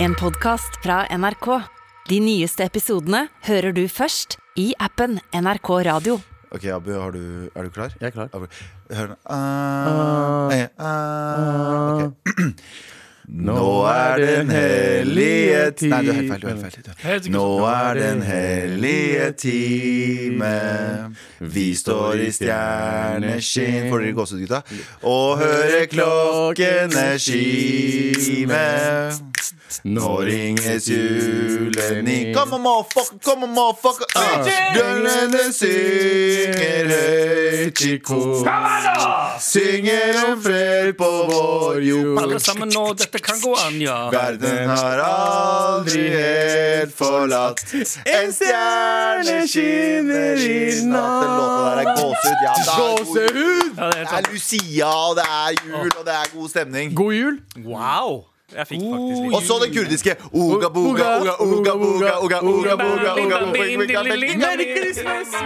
En podcast fra NRK. De nyeste episodene hører du først i appen NRK Radio. Ok, Abu, har du, er du klar? Jeg er klar. Abu, hør nå. Ah, eh, ah, ok. Nå er den hellige tid Nei, du er helt feil. Du er helt feil. Du er- Helt sikkert. Nå er den hellige time. Vi står i stjerneskinn Får dere gåsehud, gutta? Og hører klokkene kime. Nå ringes julen i Kom on, motherfucker, kom on, motherfucker ah. Bjørnene synger høyt i kor Synger om fred på vår jord Alle sammen nå, dette kan gå an, ja. Verden har aldri helt forlatt En stjerne skinner i natt Den låta der er gåsehud, ja det er god- Gåsehud! ja det er Det helt sant. er Lucia, og det er jul, og det er god stemning God jul! Wow! Jeg fikk faktisk Og så det kurdiske Uga boga, uga uga boga, uga uga boga, uga boga Merry Christmas!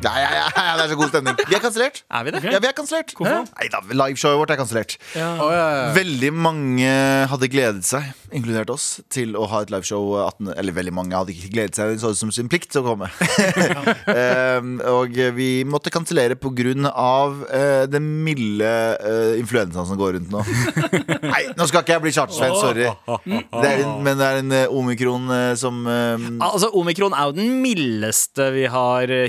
Nei, ja, ja, ja, det er så god stemning Vi er kansellert Er vi det? Ja, vi er kansellert Hvorfor? Nei da, liveshowet vårt er kansellert Å, ja, ja. Veldig mange hadde gledet seg, inkludert oss Til å ha et liveshow 18, Eller veldig mange hadde ikke gledet seg De så det som sin plikt å komme Ehm, Og vi måtte kansellere på grunn av eh, Den milde eh, influensaen som går rundt nå Nei, nå skal ikke jeg bli chartersvenn, sorry det er en, Men det er en eh, omikron eh, som eh, Altså, Omikron er jo den mildeste vi har eh,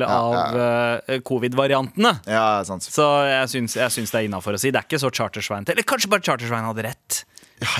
Ja, ja, av eh, covid-variantene. Ja, sant Så jeg syns, jeg syns det er innafor å si. Det er ikke så Chartersvein til. Eller kanskje bare Chartersvein hadde rett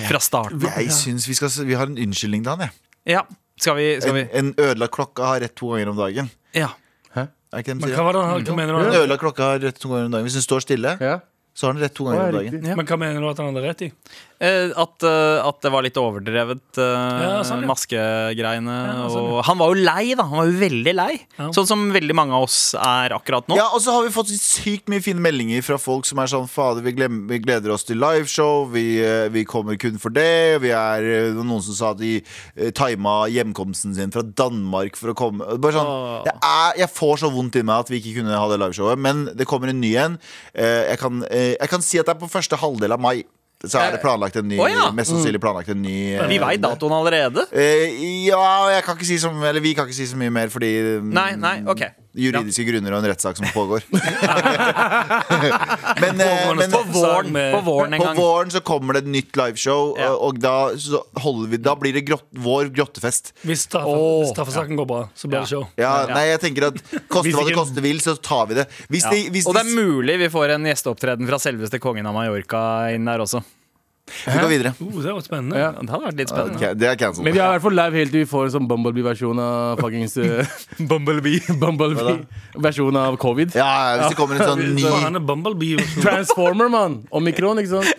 fra starten av. Jeg synes vi, skal, vi har en unnskyldning til han, jeg. Ja. Skal vi, skal vi? En, en ødelagt klokke har rett to ganger om dagen. Ja. Er ikke det de Men sier? hva, var det, han- hva mener du En han- ødelagt klokke har rett to ganger om dagen Hvis den står stille, ja. så har den rett to Å, ganger ja, om dagen. riktig. Men hva mener du at han hadde rett i? Eh, at, eh, at det var litt overdrevet eh, Ja, sånn, ja. maskegreiene. Ja, sånn, ja. Og han var jo lei, da. Han var jo veldig lei. Ja. Sånn som veldig mange av oss er akkurat nå. Ja, Og så har vi fått sykt mye fine meldinger fra folk som er sånn Fader, vi, glem- vi gleder oss til liveshow. Vi, eh, vi kommer kun for det. Vi er eh, noen som sa at de eh, tima hjemkomsten sin fra Danmark for å komme. Bare sånn, det er, jeg får så vondt i meg at vi ikke kunne ha det liveshowet, men det kommer en ny en. Eh, Jeg kan, eh, jeg kan si at det er på første halvdel av mai. Så er det planlagt en ny, Eh, Å, ja. Mm. mest sannsynlig planlagt en ny eh, Vi veit datoen allerede. Eh, ja, jeg kan ikke si så, eller vi kan ikke si så mye mer, fordi mm, Nei, nei, ok. Juridiske grunner og en rettssak som pågår. men, eh, Pågående men På på våren, Med- på våren en gang. våren så kommer det et nytt liveshow, Ja. og, og da, så holder vi, da blir det grott, vår grottefest. Hvis straffe, Åh. straffesaken går bra, så blir det show. Ja, Nei, jeg tenker at koste Hvis hva det ikke- koste vil, så tar vi det. Hvis Ja. de, hvis Og det er de, mulig vi får en gjesteopptreden fra selveste kongen av Mallorca inn der også. vi går videre. Oh, det var spennende. Ja. Det hadde vært litt spennende. Ok, det er cancelled. Men vi er i hvert fall live helt til vi får en sånn Bumblebee-versjon av fuckings eh, Bumblebee. Hva da? Bumblebee-versjon av covid. Ja, ja, hvis det kommer en sånn ny Faen, han er Bumblebee. og så- Transformer, mann! Omikron, ikke sant? Her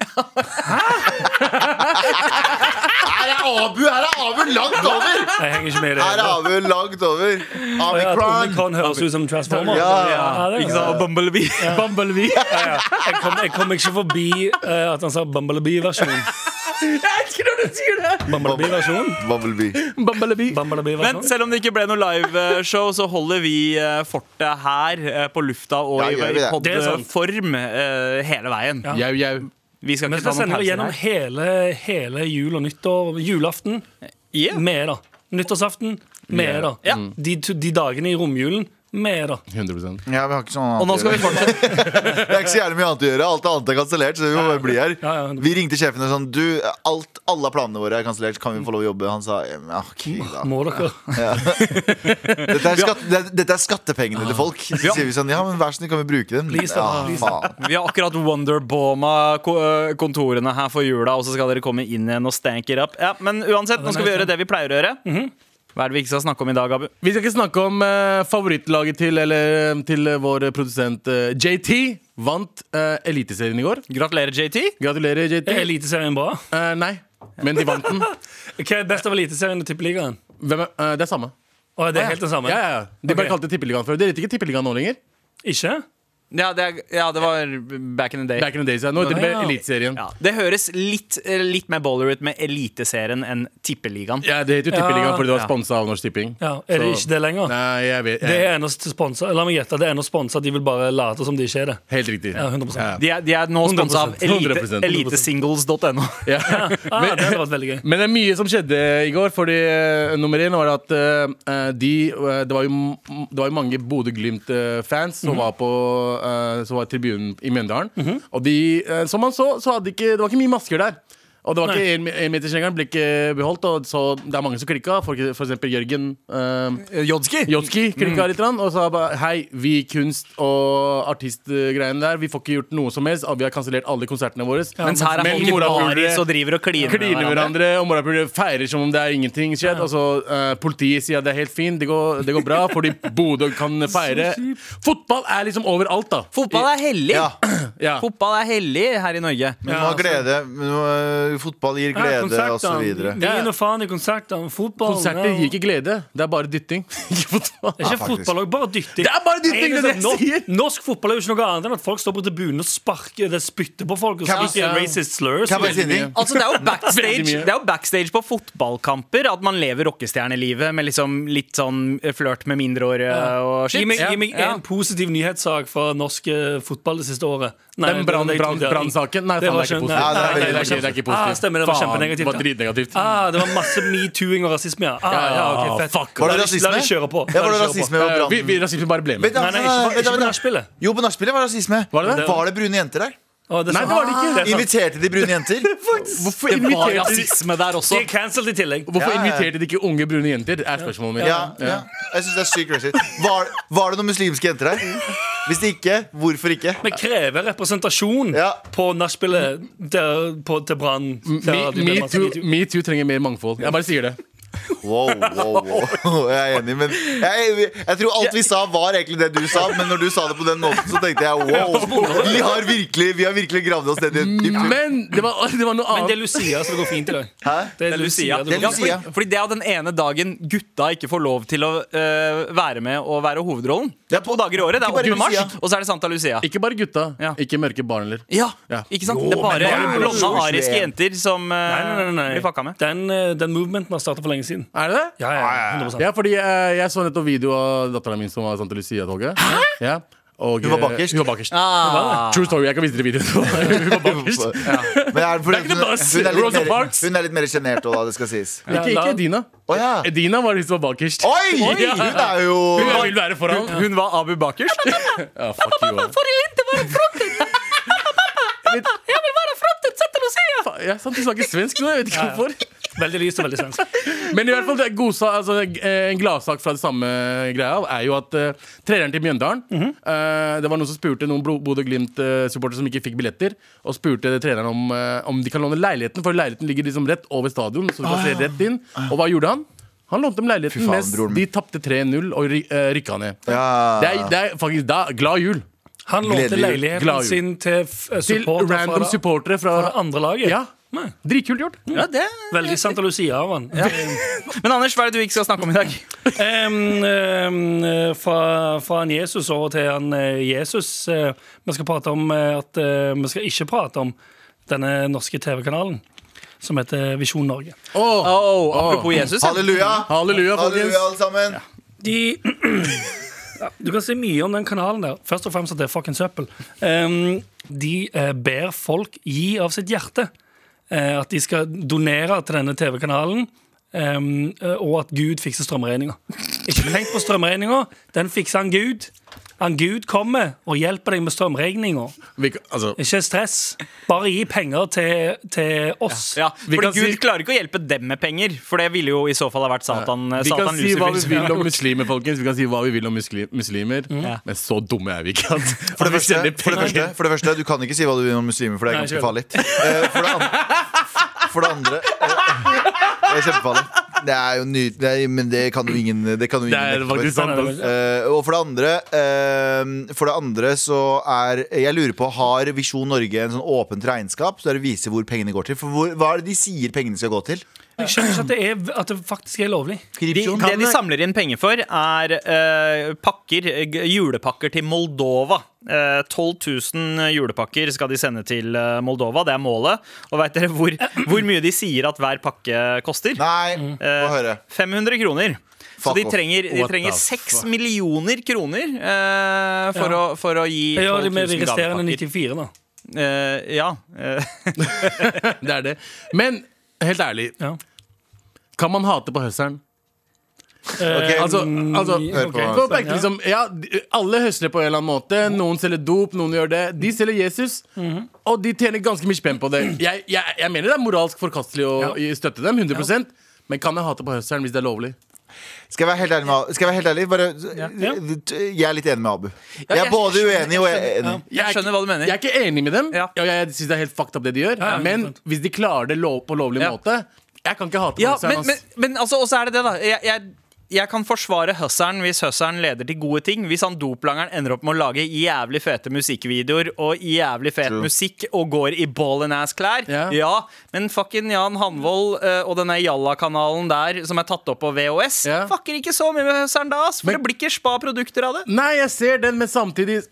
er Abu! Her er Abu langt over! Jeg henger ikke med i det. Her er hele tatt. Abu langt over. Å, ja, at Omikron. Omikron høres ut som Transformer. Ja. det er Ikke sant? Og Bumblebee. Bumblebee. Ja, ja. Jeg kom, jeg kom ikke forbi eh, at han sa Bumblebee-versjon. Jeg elsker når du sier det! Bumblebee-versjon? Bumblebee. Bumblebee. Men Bumblebee-versjon? selv om det ikke ble noe liveshow, så holder vi eh, fortet her eh, på lufta og Ja, i gjør vi i det? Det er sant. podform eh, hele veien. Ja. Jau, jau. Vi skal Men ikke så ta noen sender vi gjennom pauser her. hele, hele jul og nyttår. Julaften Yeah. med da. Nyttårsaften med da. Mm. Ja. De, to- de dagene i romjulen med da. 100 Ja, vi har ikke sånn annet Og nå skal vi fortsette. Det er ikke så gjerne mye annet å gjøre. Alt annet er kansellert. Så vi må bare bli her. Ja, ja. Vi ringte sjefen og sånn Du, alt, alle planene våre er kansellert. Kan vi få lov å jobbe? Han sa ja, OK, da. Må dere? Dette er, skatt, det- dette er skattepengene til folk. Så sier vi sånn Ja, men vær så snill, kan vi bruke dem? Ah. Please, da. Ja, Please. faen. Vi har akkurat wonderboma ko- eh, kontorene her for jula, og så skal dere komme inn igjen og stank it up. Ja, men uansett, nå skal vi gjøre det vi pleier å gjøre. Hva er det vi ikke skal snakke om i dag, Abu? Vi skal ikke snakke om eh, favorittlaget til, eller, eh, til eh, vår produsent eh, JT. Vant eh, Eliteserien i går. Gratulerer, JT. Gratulerer, JT. Er Eliteserien bra? Eh, nei, men de vant den. Hva er best av Eliteserien og Tippeligaen? Hvem er, eh, det er samme. Å, det er helt det samme? Ja, ja, ja. De bare Ok. kalte det Tippeligaen før. Dere heter ikke Tippeligaen nå lenger? Ikke? Ja, det, er, ja, det var back in the day. Back in the days, ja. Nå heter det Ja. Eliteserien. Ja, det høres litt, eh, litt mer baller ut med Eliteserien enn Tippeligaen. Ja, det heter jo Tippeligaen Ja. fordi det var Ja. sponsa av Norsk Tipping. Ja, er det Så- ikke det lenger? Nei, jeg vet Det jeg, er eneste sponsa. La meg gjette, det er eneste sponsa. De vil bare late som det ikke er det. Helt riktig. Ja, 100%. De er, de er nå sponsa av 100%, 100%. elite- elitesingles.no. Ja. Ah, det Men, hadde vært veldig gøy. men det er mye som skjedde i går, fordi eh, nummer én var at eh, de eh, det, var jo, m- det var jo mange Bodø-Glimt-fans Mhm. som var på eh, Som var i tribunen i Mjøndalen. Og de, eh, som man så, så hadde ikke, det var ikke mye masker der. Og det var ikke en- enmetersgjengeren ble ikke beholdt, og så det er mange som klikka. For, for eksempel Jørgen. eh, Jodski! Jotski klikka litt grann, og sa bare hei, vi kunst- og artistgreiene der, vi får ikke gjort noe som helst, og vi har kansellert alle konsertene våre. Mens her er Men folk i morapulere baris og driver og kliner med kliner hverandre. hverandre, og morapulere feirer som om det er ingenting skjedd. Og så eh, politiet sier at det er helt fint, det går, det går bra, fordi Bodø kan feire. Fotball er liksom overalt, da. Fotball er hellig! Ja, Ja. Fotball er hellig her i Norge. men man altså- har glede. men, øh, Fotball gir glede, og så videre. Det gir noe faen i konsertene. Fotball Konserter gir ikke glede, det er bare dytting. Ikke Det fotball. er Ja, ikke faktisk. fotball, også, bare dytting. Det er bare dytting, det er det jeg Norsk- sier. Norsk fotball er jo ikke noe annet enn at folk står på tribunen og sparker det spytter på folk. Kan Og jeg skriker bare- racist slurs. Kan jeg bare si en ting? Altså, det er, jo backstage, Veldig mye. det er jo backstage på fotballkamper at man lever rockestjernelivet med liksom litt sånn flørt med mindreårige og shit. Gi meg, gi meg Ja. en positiv nyhetssak fra norsk eh, fotball det siste året. Den brann- det var brann- det jeg trodde. brannsaken? Nei, faen, det er ikke positivt. Ja, det er veldig Det nei, nei, er ikke, det er ikke positivt. Ah, stemmer, det var Faen, kjempenegativt. Det var dritnegativt. Ah, det var masse metooing og rasisme, ja. Ah, ja, ok, fett. fuck. Var det La de- La de rasisme? kjøre på. Ja, var La det de kjøre rasisme på. og Eh, vi, brannen? vi rasisme bare ble Vent med. da, Nei, nei, ikke på- ikke på nachspielet. Jo, på nachspielet var det rasisme. Var det det? Var det brune jenter der? Å, Nei, sant. det var det ikke. Ah, sant. Inviterte de brune jenter? Hvorfor Det var inviterte, de- rasisme der De også. er cancelled i tillegg. hvorfor Ja, ja. inviterte de ikke unge brune jenter? Er spørsmålet mitt. Ja, ja. Jeg synes det er sykt racist. Var, var det noen muslimske jenter der? Hvis det ikke, hvorfor ikke? Vi krever representasjon Ja. på nachspielet der- på- til Brann. Me, me, too, me too trenger mer mangfold. Jeg bare sier det. Wow, wow, wow. Jeg er enig, men jeg, jeg tror alt vi sa, var egentlig det du sa. Men når du sa det på den måten, så tenkte jeg wow. Vi har virkelig, vi har virkelig gravd oss ned i et dypt hull. Men det var, det var noe Men det er annet. Lucia, så det går fint i dag. Hæ? Det er Lucia. det går Det er Ja, fint. Lucia. fordi, fordi det er jo den ene dagen gutta ikke får lov til å øh, være med og være hovedrollen. Det er to dager i året. Det Ikke bare er 8. mars, Lucia. og så er det Santa Lucia. Ikke bare gutta, Ja. ikke mørke barn heller. Ja, Ja. ikke sant? det er bare men det er jo blonde blå- ariske jenter som øh, Nei, nei, nei, nei. blir fucka med. Den, eh, den movementen har starta for lenge siden. Er det det? Ja, ja, 100%. Ja, fordi eh, jeg så nettopp video av dattera mi som var Santa Lucia-toget. Ja. Og, Hun var eh, bakerst. Hun var bakerst. Ah. True story. Jeg kan vise dere videoen. Hun var bakerst. Men er det fordi Det er ikke hun, noe hun, bare å si. er litt Rosa mer, Parks. hun er litt mer sjenert òg, da. Det skal sies. Ikke, ikke Edina. Å ja. Edina var de som var bakerst. Oi! Hun er jo Hun vil være foran. Hun var Abu Bakerst. Ja, fuck you. Abu. Jeg vil være fronten! Santa Lucia! Fa- Ja, sant, du snakker svensk nå, jeg vet ikke Ja, ja. hvorfor. Veldig lyst og veldig svensk. Men i hvert fall, det er godsa, altså, eh, en gladsak fra det samme greia er jo at uh, treneren til Mjøndalen Mhm. eh, Det var noen som spurte noen Bro- Bodø-Glimt-supportere som ikke fikk billetter, og spurte treneren om, eh, om de kan låne leiligheten, for leiligheten ligger liksom rett over stadion, så du kan se rett inn. Og hva gjorde han? Han lånte dem leiligheten Ah. Fy faen, mens broren min. de tapte 3-0 og ry- eh, rykka ned. Ja. Det, er, det er faktisk da glad jul Han lånte Gledelig jul. Glad leiligheten jul. sin til f- eh, til supporter fra random det- supportere fra det fra andre laget. Ja, Nei. Dritkult gjort. Ja, det. Veldig Santa Lucia av han. Men Anders, hva er det du ikke skal snakke om i dag? Em, em, eh, fra, fra han Jesus over til han eh, Jesus. Eh, Vi skal prate om eh, at eh, Vi skal ikke prate om denne norske TV-kanalen som heter Visjon Norge. Åh, Oh, apropos Jesus. ja. Halleluja! Halleluja, folkens. Halleluja, alle sammen. De ja, Du kan si mye om den kanalen der. Først og fremst at det er fucking søppel. Em, de eh, ber folk gi av sitt hjerte. Eh, at de skal donere til denne TV-kanalen. em, eh, og at Gud fikser strømregninga. Ikke tenk på strømregninga, den fikser han Gud. Han Gud kommer og hjelper deg med strømregninga. Vi kan- altså, Ikke stress. Bare gi penger til, til oss. Ja, Vi fordi kan Gud si- klarer ikke å hjelpe dem med penger, for det ville jo i så fall ha vært Satan. eh, Vi kan satan si hva vi Lucifer. vil om muslimer, folkens. Vi kan si hva vi vil om muskli- muslimer Mm. Men så dumme er vi ikke. At, For det, at vi første, sender for, det penger. første, for det første, du kan ikke si hva du vil om muslimer, for det er Nei, ganske farlig. Eh, For det andre, for det, andre eh, Det er kjempefarlig. Det er jo ny, det er, men det kan jo ingen Det kan jo ingen Det er nekte for. faktisk sant. altså. ass. Eh, og for det andre eh, For det andre så er Jeg lurer på, har Visjon Norge en sånn åpent regnskap der det viser hvor pengene går til? For hvor, hva er det de sier pengene skal gå til? Jeg skjønner ikke at det, er, at det faktisk er lovlig. De, Korrupsjon. det de Kan- samler inn penger for, er eh, pakker, eh, julepakker til Moldova. Eh, 12 000 julepakker skal de sende til eh, Moldova. Det er målet. Og veit dere hvor, hvor mye de sier at hver pakke koster? Nei, Eh, få høre. 500 kroner. Så Fuck de off. trenger, de What trenger the 6 fuck? millioner kroner eh, for, Ja. å, for å gi Det 12 gjør de med de 000 resterende gavepakker. 94, da. Eh, ja. eh, Det er det. Men helt ærlig, Ja. kan man hate på høsteren? Ok, Altså, altså Hør på ok. hva for å merke, Ja. liksom, ja, de- Alle høsler på en eller annen måte. Noen selger dop, noen gjør det. De selger Jesus, Mm-hmm. og de tjener ganske mye spenn på det. Jeg, jeg, jeg mener det er moralsk forkastelig å støtte dem, 100 men kan jeg hate på høsteren hvis det er lovlig? Skal jeg være helt ærlig med Abu? Skal Jeg være helt ærlig? Bare, jeg er litt enig med Abu. Jeg er jeg- både uenig og enig. Jeg er ikke- skjønner hva du mener. Jeg er ikke enig med dem, Ja. og jeg syns det er helt fucked up det de gjør. Ja, ja, men sant. hvis de klarer det lov, på lovlig Ja. måte Jeg kan ikke hate på Ja, høsteren. men, ass. men, men altså, også er det det, da. Jeg, jeg, jeg kan forsvare høsseren hvis høsseren leder til gode ting. Hvis han doplangeren ender opp med å lage jævlig fete musikkvideoer og jævlig fet True. musikk og går i ball and ass-klær. Ja. men fucking Jan Hanvold eh, og denne Jalla-kanalen der som er tatt opp på VHS, Ja. fucker ikke så mye med høsseren da, ass. For Men- det blir ikke spa-produkter av det. Nei, jeg ser den, men samtidig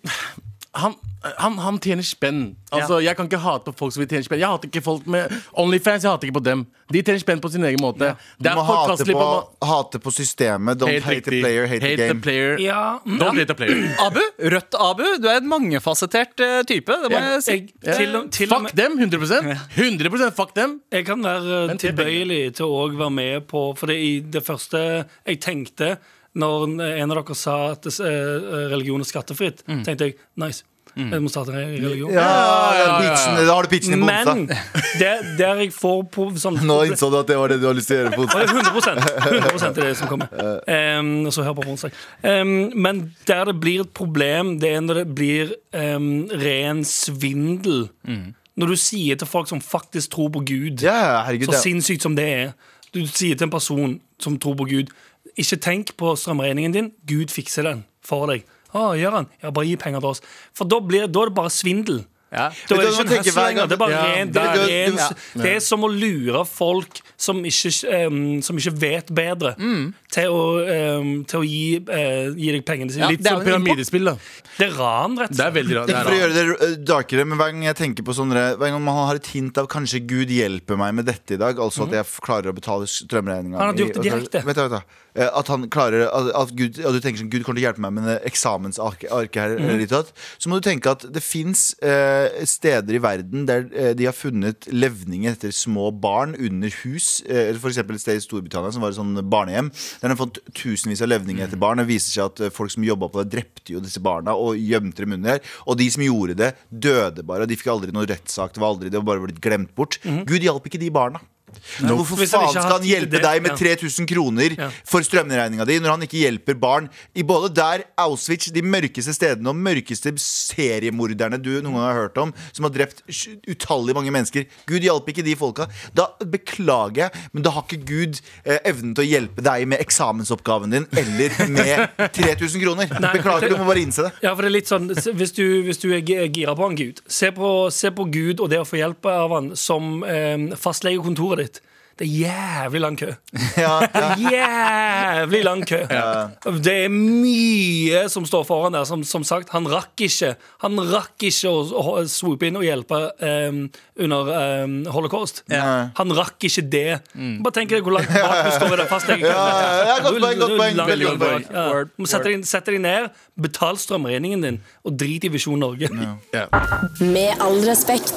han, han, han tjener spenn. Altså, Jeg kan ikke hate på folk som vil tjene spenn. Jeg hater ikke folk med Onlyfans. jeg hater ikke på dem De tjener spenn på sin egen måte. Du Det må er hate forkastelig på, på, ma- hate på systemet. Don't Helt hate the riktig. player, hate, the game. player. Ja, mm, Don't hate the player. Abu, Rødt Abu, du er en mangefasettert eh, type. Det må Ja. jeg si. jeg, til, og- til og Fuck med, dem, 100 100 fuck dem. jeg kan være eh, Men til tilbøyelig til å òg være med på For det, i det første jeg tenkte når en en av dere sa at eh, religion er skattefritt, tenkte jeg nice. Jeg må starte en religion. Ja, ja, Mm. ja, ja. pitchen- Da har du pitchen i bonsa. Men det, der jeg får på sånn Nå innså du at det var det du har lyst til å gjøre. på Ja, onsdag. 100 100 er det som kommer. Em, og så hør på på onsdag. Em, men der det blir et problem, det er når det blir em, ren svindel. Mm. Når du sier til folk som faktisk tror på Gud, Ja, ja, herregud. så Ja. sinnssykt som det er Du sier til en person som tror på Gud, ikke tenk på strømregningen din, Gud fikser den for deg. Å, gjør han? Ja, bare gi penger til oss. For da, blir, da er det bare svindel. Da Vet er du det hva ikke man en tenker hustle hver gang? lenger. Det er bare Ja, ren, det det- er det- ren, det er som å lure folk som ikke, em, som ikke vet bedre, Mm. til å, em, til å gi, eh, gi deg pengene sine. Litt Litt som sånn pyramide. pyramidespill, da. Det er ran, rett og Det er slett. veldig rart. det Ikke er for å rart. gjøre det eh, darkere, men hver gang jeg tenker på sånne Hver gang man har et hint av kanskje Gud hjelper meg med dette i dag, altså at jeg f- klarer å betale strømregninga Han hadde mi, gjort det og så- direkte. Vet du, vet du, eh, At han klarer at, at Gud, Og du tenker sånn Gud kommer til å hjelpe meg med det eksamensarket arket Mhm. her, eller ditt og datt. Så må du tenke at det fins eh, steder i verden der eh, de har funnet levninger etter små barn under hus. Eh, for eksempel et sted i Storbritannia som var et sånn barnehjem. Der de har fått tusenvis av levninger Mhm. etter barn. Det viser seg at eh, folk som jobba på det, drepte jo disse barna og gjemte dem under. Og de som gjorde det, døde bare. Og de fikk aldri noen rettssak. Det var aldri, det var bare blitt glemt bort. Gud hjalp ikke de barna. Men Hvorfor Mhm. Hvis han faen ikke har skal han tid til hjelpe det, deg med ja. 3000 kroner Ja. for strømregninga di, når han ikke hjelper barn i både der, Auschwitz, de mørkeste stedene og mørkeste seriemorderne du noen gang har hørt om, som har drept sj- utallige mange mennesker. Gud hjalp ikke de folka. Da beklager jeg, men da har ikke Gud eh, evnen til å hjelpe deg med eksamensoppgaven din eller med 3000 kroner. Beklager, du må bare innse det. Ja, for det er litt sånn, s- Hvis du, hvis du er gi- gira på en gud, se på, se på Gud og det å få hjelp av han som em, fastlegekontoret ditt. Det er jævlig lang kø. Ja, ja. Jævlig lang kø. Det er mye som står foran der. Som, som sagt, han rakk ikke Han rakk ikke å, å swoope inn og hjelpe em, under em, holocaust. Ja. Han rakk ikke det. Mm. Bare tenk deg hvor langt bak du står i den fastlegekøen. Ja, ja, ja, godt Du- poeng, du- godt poeng, du- langt veldig godt bak. poeng. Ja. Word, Du må sette deg, sette deg ned, betal strømregningen din, og drit i Visjon Norge. Med all respekt.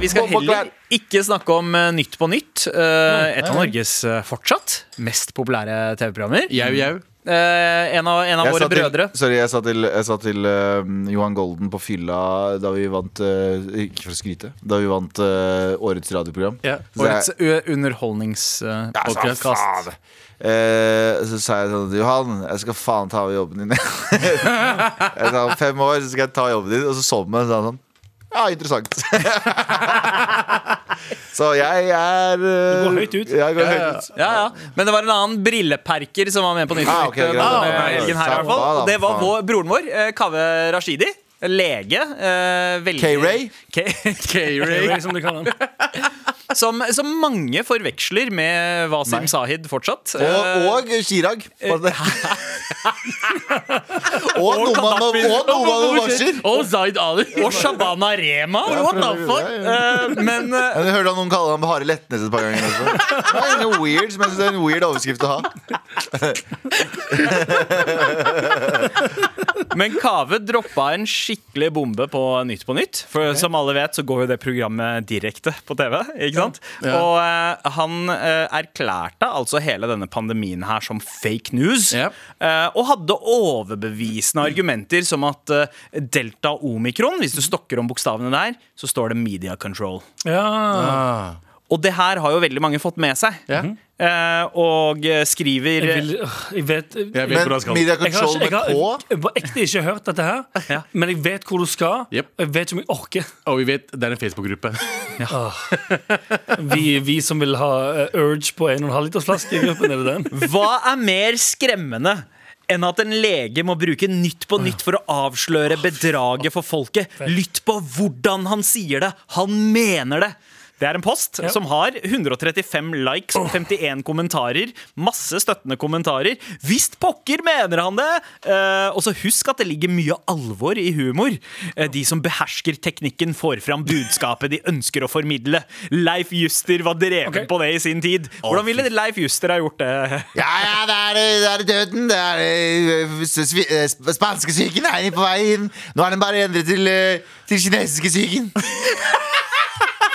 Vi skal Bob og heller ikke snakke om eh, Nytt på nytt. eh, Et av Norges eh, fortsatt mest populære TV-programmer. Jau, jau. Eh, en av, en av Jeg våre sa til- brødre. Sorry, jeg sa til, jeg sa til eh, Johan Golden på fylla da vi vant eh, Ikke for å skryte. Da vi vant eh, årets radioprogram. Ja, Så jeg- Årets eh, Ja, så underholdningspodkast. faen. Eh, så sa jeg sånn Johan, jeg skal faen ta over jobben din. jeg sa om fem år så skal jeg ta jobben din. Og så så han på meg og sa han sånn Ja, interessant. så jeg er eh, Du går høyt ut. Ja, jeg går høyt ut. Ja, ja. Men det var en annen brilleperker som var med på Nytt på Ah, nytt. eh, ok, greit. denne Ah, helgen her, i ja, hvert fall. ja, Og det var faen. vår, broren vår, eh, Kaveh Rashidi. Lege. eh, veldig- K-Ray? K- Det er liksom det kaller han. Som, som mange forveksler med Wasim Sahid fortsatt. Eh, Og, og Chirag. Bare det. og Noman og Noman Mubashir. Og Zaid Ali. Eh, Og Shabana Rema! What the fuck? Eh, men eh, Jeg hørte at noen kaller ham Hare Letnes et par ganger. Også. Det er noe weird, men jeg synes det er en weird overskrift å ha. Men Kave droppa en skikkelig bombe på Nytt på Nytt. For som alle vet, så går jo det programmet direkte på TV. ikke sant? Og eh, han eh, erklærte altså hele denne pandemien her som fake news. Ja. eh, og hadde overbevisende argumenter som at eh, delta omikron, hvis du stokker om bokstavene der, så står det media control. Ja. Ah. Og det her har jo veldig mange fått med seg. Ja. Eh, og eh, skriver Jeg, vil, øh, jeg vet Jeg vet Men hvor han skal. Media Jeg har, Control ikke, jeg, med K har, jeg har ekte ikke hørt dette her, Ja. men jeg vet hvor du skal. og Jep. Jeg vet ikke om jeg orker. Og vi vet det er en Facebook-gruppe. Vi, vi som vil ha eh, Urge på 1,5 liters flaske i gruppen, er det den? Hva er mer skremmende enn at en lege må bruke Nytt på Nytt for å avsløre bedraget for folket? Lytt på hvordan han sier det! Han mener det! Det er en post som har 135 likes og 51 kommentarer. Masse støttende kommentarer. Visst pokker mener han det! Eh, og så husk at det ligger mye alvor i humor. Eh, de som behersker teknikken, får fram budskapet de ønsker å formidle. Leif Juster var dreven Ok. på det i sin tid. Hvordan ville Leif Juster ha gjort det? Ja, ja, det er, det er døden. Det er eh, s- svi- eh, sp- spanskesyken er på vei inn. Nå er den bare endret til, eh, til kinesiskesyken.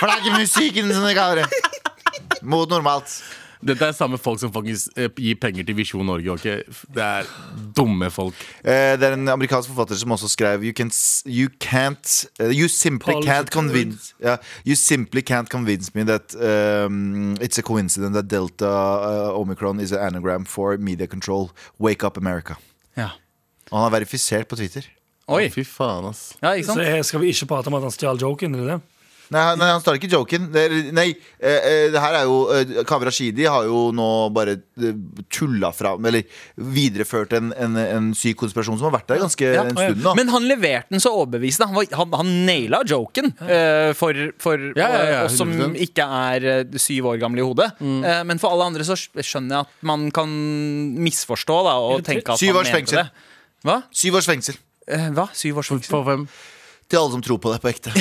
Flaggermussyken, som de kaller det. Mot normalt. Dette er samme folk som faktisk eh, gir penger til Visjon Norge. ok? Det er dumme folk. Eh, det er en amerikansk forfatter som også skrev You, can, s- you can't eh, You simply Paul can't Richard convince yeah, You simply can't convince me that um, It's a coincidence that Delta eh, Omicron is an anagram for media control Wake up America Og han er verifisert på Twitter Oi. Fy faen, ass. Ja, ikke Så sant? eh, skal vi ikke prate om at han stjal joken? Er det det? Nei, han- nei, han starter ikke joken det er, Nei, eh, eh, det her er jo eh, Kamra Shidi har jo nå bare eh, Tullet fram, eller Videreført en, en, en syk konspirasjon Som har vært der ganske en ja. stund nå Men han leverte den så overbevisende. Han, var, han, han naila joken eh, for, for eh, Ja, ja, ja, oss som 100%. ikke er eh, syv år gamle i hodet. Mm. Eh, men for alle andre så skjønner jeg at man kan misforstå da, og tenke at Syv han års mente fengsel. det. Hva? Syv års fengsel Eh, hva? Syv års fengsel? For hvem? Til alle som tror på deg på ekte.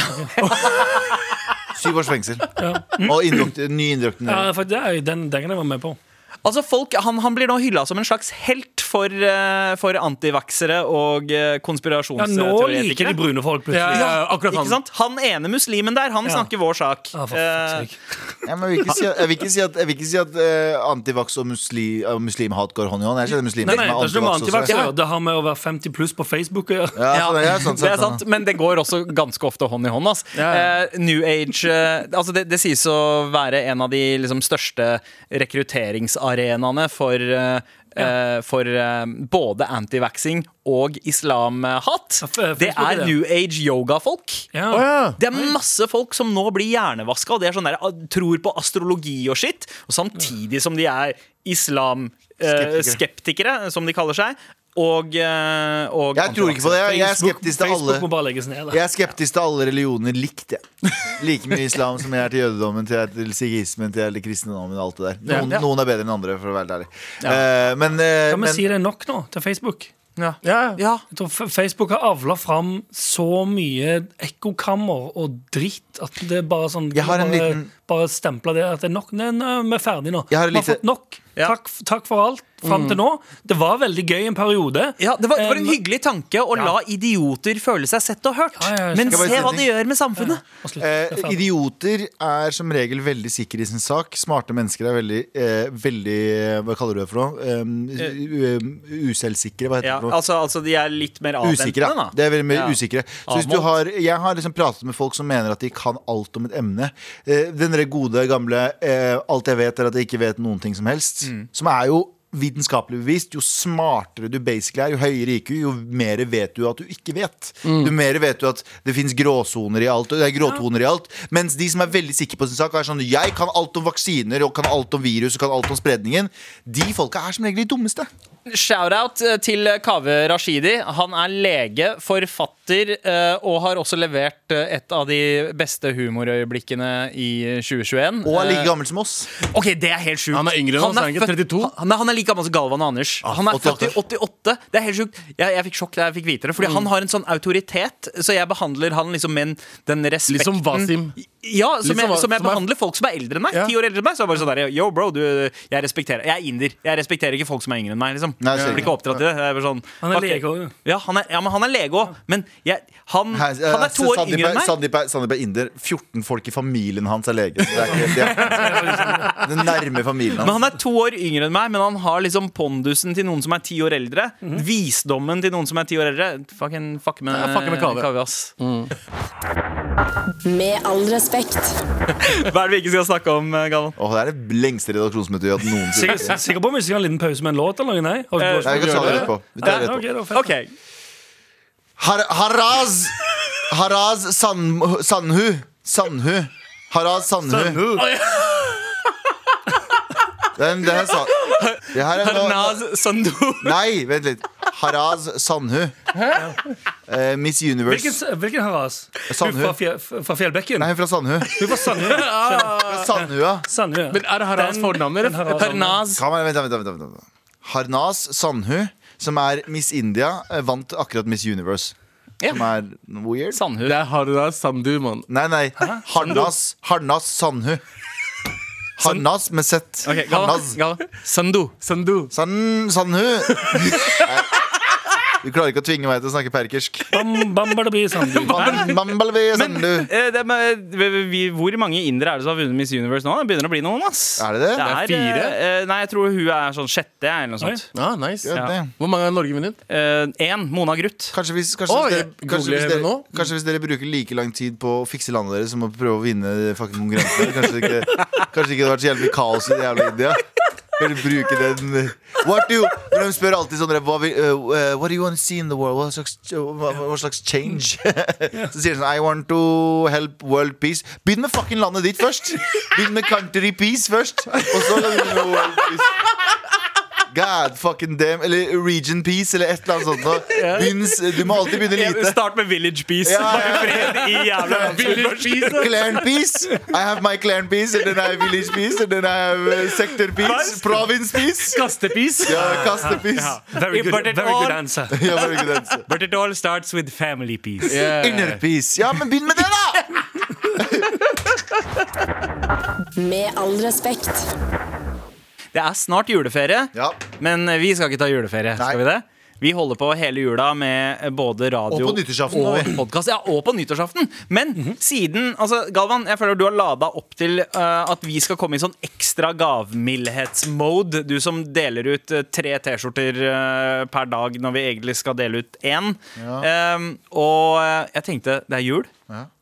Syv års fengsel. Mm. Og indokti- ny Ja, indoktrinering. for det er, den, den kan jeg være med på. Altså folk, han, han blir nå hylla som en slags helt for, eh, for antivaksere og eh, Ja, nå konspirasjonsteoretikere. liker de brune folk plutselig. akkurat Ikke sant? Han ene muslimen der, han Ja. snakker vår sak. Ah, for Eh, fuck's sake. Ja, men jeg, vil ikke si at, jeg vil ikke si at, jeg vil ikke si at eh, antivaks og musli, og muslimhat går hånd i hånd. Jeg ser muslimer Nei, nei, det som er ikke noe med antivaks å også. gjøre. Det har med å være 50 pluss på Facebook å gjøre. Ja, sånn, ja, sånn, det er sånn, sant, men det går også ganske ofte hånd i hånd. ass. Eh, New Age eh, altså det, det sies å være en av de liksom, største rekrutteringsarenaene for eh, eh, for eh, både antivaxing og islamhat. Ja, f- Det Facebook er er det. New Age yogafolk. Ja. Å ja. Det er masse folk som nå blir hjernevaska, og det er sånn der, ah, tror på astrologi og shit. Og samtidig som de er islamskeptikere, skeptikere, som de kaller seg. Og, eh, og Jeg tror ikke på det. Jeg, jeg er Facebook, skeptisk til alle Facebook må bare legges ned. da. Jeg er skeptisk til alle religioner likt, jeg. Like mye islam som jeg er til jødedommen, til, jeg er til sikhismen, til jeg er til kristendommen. Alt det der. Noen, Ja. noen er bedre enn andre, for å være helt ærlig. Eh, men, eh, Kan vi men si det er nok nå til Facebook? Ja. Ja. Ja. Jeg tror F- Facebook har avla fram så mye ekkokammer og dritt at det er bare sånn Jeg har en bare, liten- bare stempla det at det er nok. Nei, nei, vi er ferdige nå. Jeg har en vi har lite- Mm. fått nok. Ja. Takk, f- takk for alt fram til nå. Det var veldig gøy en periode. Ja, det var, det var en Eh, hyggelig tanke å la idioter føle seg sett og hørt. Ja, ja, ja. Skal Men jeg se bare si en hva det gjør med samfunnet. og slutt. Det er Eh, ferdig. idioter er som regel veldig sikre i sin sak. Smarte mennesker er veldig, eh, veldig eh, Hva kaller du det for noe? Eh, u- eh, uselvsikre? Hva heter Ja, det for noe? altså, altså, de er litt mer Usikre. avventende, da. da. Det er veldig mye Ja. usikre. Så hvis du Avmålt. har, jeg har liksom pratet med folk som mener at de kan alt om et emne. Eh, Den der gode, gamle eh, 'alt jeg vet, er at jeg ikke vet noen ting som helst', Mm. som er jo Vitenskapelig bevist, Jo smartere du basically er, jo høyere IQ, jo mer vet du at du ikke vet. Mm. Jo mer vet du at det fins gråsoner i alt, og det er gråtoner i alt. Mens de som er veldig sikre på sin sak, er sånn 'jeg kan alt om vaksiner, og kan alt om virus, og kan alt om spredningen', de folka er som regel de dummeste. Shout-out eh, til Kaveh Rashidi. Han er lege, forfatter eh, og har også levert eh, et av de beste humorøyeblikkene i 2021. Og er Eh, like gammel som oss. Ok, det er helt sjukt. Han er yngre enn oss, er han ikke? født- 32? Han, nei, han er like gammel som Galvan og Anders. Ah, han er født i 88. 88. Det er helt sjukt. Jeg, jeg fikk sjokk da jeg fikk vite det, fordi Mm. han har en sånn autoritet, så jeg behandler han liksom med en- den respekten Litt som Wasim. Ja, som, Litt som jeg, Wa- som jeg som er- behandler folk som er eldre enn meg. Ja. Ti år eldre enn meg. Så er jeg bare sånn der, Yo, bro, du, jeg respekterer Jeg er inder. Jeg respekterer ikke folk som er yngre enn meg, liksom. Nei, jeg sikkert. blir ikke oppdratt til det. Jeg er bare sånn, Han er fuck it. lege også, Ja, han er, ja, men han er lege òg. Men jeg, han, Her- han eh, er to år Sandeep yngre enn er- meg. Sandeep er, Sandeep er inder. 14 folk i familien hans er lege. Det er ikke, det er, det nærme familien Men hans. han er to år yngre enn meg, men han har liksom pondusen til noen som er ti år eldre. Visdommen til noen som er ti år eldre. Fucking fuck med, Ja, fuck med Kaveh. ass. Med all respekt. Hva er det vi ikke skal snakke om, eh, Galvan? Åh, det er det lengste redaksjonsmøtet vi har hatt noensinne. Sikker, sikker på om vi skal ha en liten pause med en låt eller noe? Nei? Har du Eh, lyst Nei, vi til å kan ta gjøre det det? etterpå. Vi tar det Ja, etterpå. ok, det var fett. Ok, Har, Haraz Haraz San, Sanhu Sanhu Haraz Sanhu Den, den er sa, det her er nå- Arnaz Sandu. Nei, vent litt Haraz Sanhu Eh, Miss Universe Hvilken, hvilken Haras? Sandhu. Hun fra, fjell, fra Fjellbekken? Nei, hun er fra Sandhu Hun fra Sandhu. Fra Sandhua Sandhu. Men er Haraz Den- fornavnet? den Haraz. eller? Arnaz. Kan man, vent, da, vent, da, vent, da, vent da. Harnaz Sandhu Som er Miss India eh, Vant akkurat Miss Universe Ja. Som er weird Sandhu. Det er Haraz Sandu, mann. Nei, nei. Harnas, Harnas Sandhu. Harnas med Z. Ok, Galvan. Harnas Galvan. Sandu. Sandu. San, Sandhu. Nei. Du klarer ikke å tvinge meg til å snakke perkersk. Bam, bam, bada, bi, Sandhu. Mam- Mambalvi Sandhu. Eh, det, er med- vi, vi, hvor mange indere er det som har vunnet Miss Universe nå? Det begynner å bli noen, ass. Er det det? Det er fire. eh, eh, nei, jeg tror hun er sånn sjette, eller noe sånt. Ah, nice. Ja, det. Hvor mange har Norge vunnet? Én. Mona Gruth. Kanskje hvis, kanskje, Oi, hvis dere, kanskje, googler hvis jeg det dere, nå? kanskje hvis dere bruker like lang tid på å fikse landet deres som å prøve å vinne fucking konkurransen Kanskje det ikke, kanskje det ikke hadde vært så jævlig kaos i det jævla India. Bare bruke den What do you Når de spør alltid sånn hva, vil- eh, eh, what do you want to see in the world? Hva slags, hva, hva slags change? Så sier de sånn I want to help world peace. Begynn med fucking landet ditt først! Begynn med country peace først, og så kan du begynne med world peace. God fucking damn. Eller region peace, eller et eller annet sånt. nå. Begynn- du må alltid begynne lite. Start med Village Beast. Ja, ja, Fred i jævla Clan peace. I have my clan peace, and then I have village peace, and then I have uh, sector peace, province peace. Kastepis. Ja, kaste peace. Very good, But it very good all- answer. Ja, bare ikke den, så. But it all starts with family peace. Inner peace. Ja, men begynn med det, da! Med all respekt. Det er snart juleferie, Ja. men vi skal ikke ta juleferie. Nei. Skal vi det? Vi holder på hele jula med både radio Og på nyttårsaften, og har vi. Mhm. podcast. Ja, og på nyttårsaften. Men siden altså, Galvan, jeg føler du har lada opp til eh, at vi skal komme i sånn ekstra gavmildhetsmode. Du som deler ut eh, tre T-skjorter eh, per dag når vi egentlig skal dele ut én. Ehm, og eh, jeg tenkte det er jul.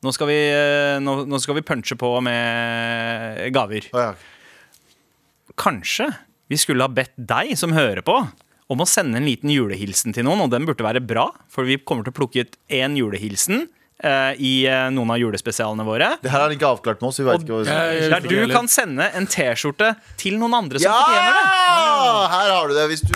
Nå, skal vi, eh, nå, nå skal vi punche på med gaver Å, ja. kanskje vi skulle ha bedt deg som hører på, om å sende en liten julehilsen til noen, og den burde være bra, for vi kommer til å plukke ut én julehilsen eh, i eh, noen av julespesialene våre. Det her er ikke avklart med oss. Vi vet ikke hva vi Jeg- jeg- Der du kan sende en T-skjorte til noen andre som Ja! fortjener det. Ah. Her har du det. Hvis du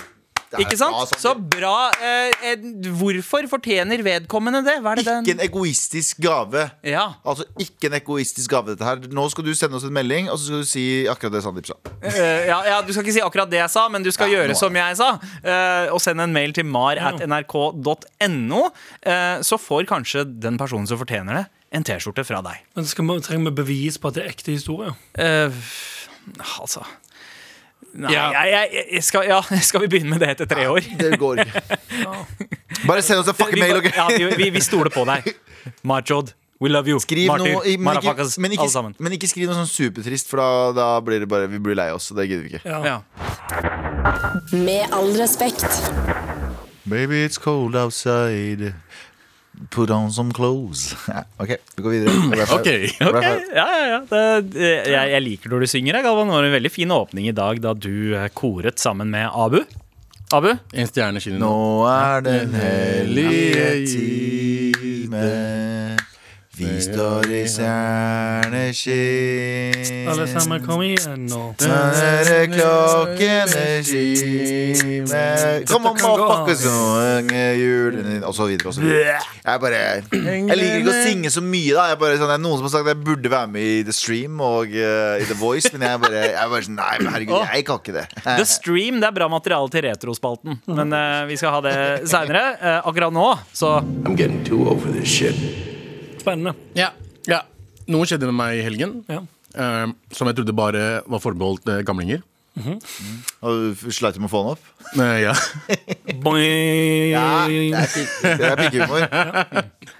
Det er Ikke bra, sant? Sander. Så bra. eh, eh, hvorfor fortjener vedkommende det? Hva er det Ikke den en egoistisk gave. Ja. Altså ikke en egoistisk gave, dette her. Nå skal du sende oss en melding, og så skal du si akkurat det Sandeep sa. Eh, ja, ja, du skal ikke si akkurat det jeg sa, men du skal Ja, nå gjøre er som jeg sa. eh, og send en mail til mar at nrk.no, eh, så får kanskje den personen som fortjener det, en T-skjorte fra deg. Men skal vi, trenger vi bevis på at det er ekte historie? Eh, altså Nei, Ja. jeg, jeg, jeg skal, ja, skal vi begynne med det etter tre år? Det går ikke. Bare send oss en fucking Vi, mail, ok? bare- ja, vi, vi, vi stoler på deg. Marjod, we love you. Skriv Martyr, noe, i- men, ikke, motherfuckers, men, alle ikke, sammen. men ikke skriv noe sånn supertrist, for da, da blir det bare, vi blir lei oss. og Det gidder vi ikke. Ja. Med all respekt. Baby, it's cold outside. Put on some clothes. ok, vi går videre. Rap out. Ok, Rap Ok, out. ja, ja, ja. Det, det, jeg, jeg liker når du synger, jeg, Galvan. Det var en veldig fin åpning i dag da du eh, koret sammen med Abu. Abu? En stjerne skinner nå. Nå er den hellige hellige time. Vi står i stjerneskinn. Alle sammen, kom igjen nå. Hører klokkene kime Come on, motherfuckers, og unge julen din Og så videre og så videre Jeg bare Jeg liker ikke å synge så mye da Jeg bare sånn Det er noen som har sagt at jeg burde være med i The Stream Og eh, i The Voice Men jeg bare Jeg bare sånn Nei, men herregud, jeg kan ikke det The Stream det er bra materiale til retrospalten, men eh, vi skal ha det seinere. akkurat nå, så I'm getting too over this shit. Spennende. Ja. ja. Noe skjedde med meg i helgen Ja. eh, som jeg trodde bare var forbeholdt eh, gamlinger. Og du sleit med å få den opp Eh, ja. Ja, det er pikk- det er pikkehumor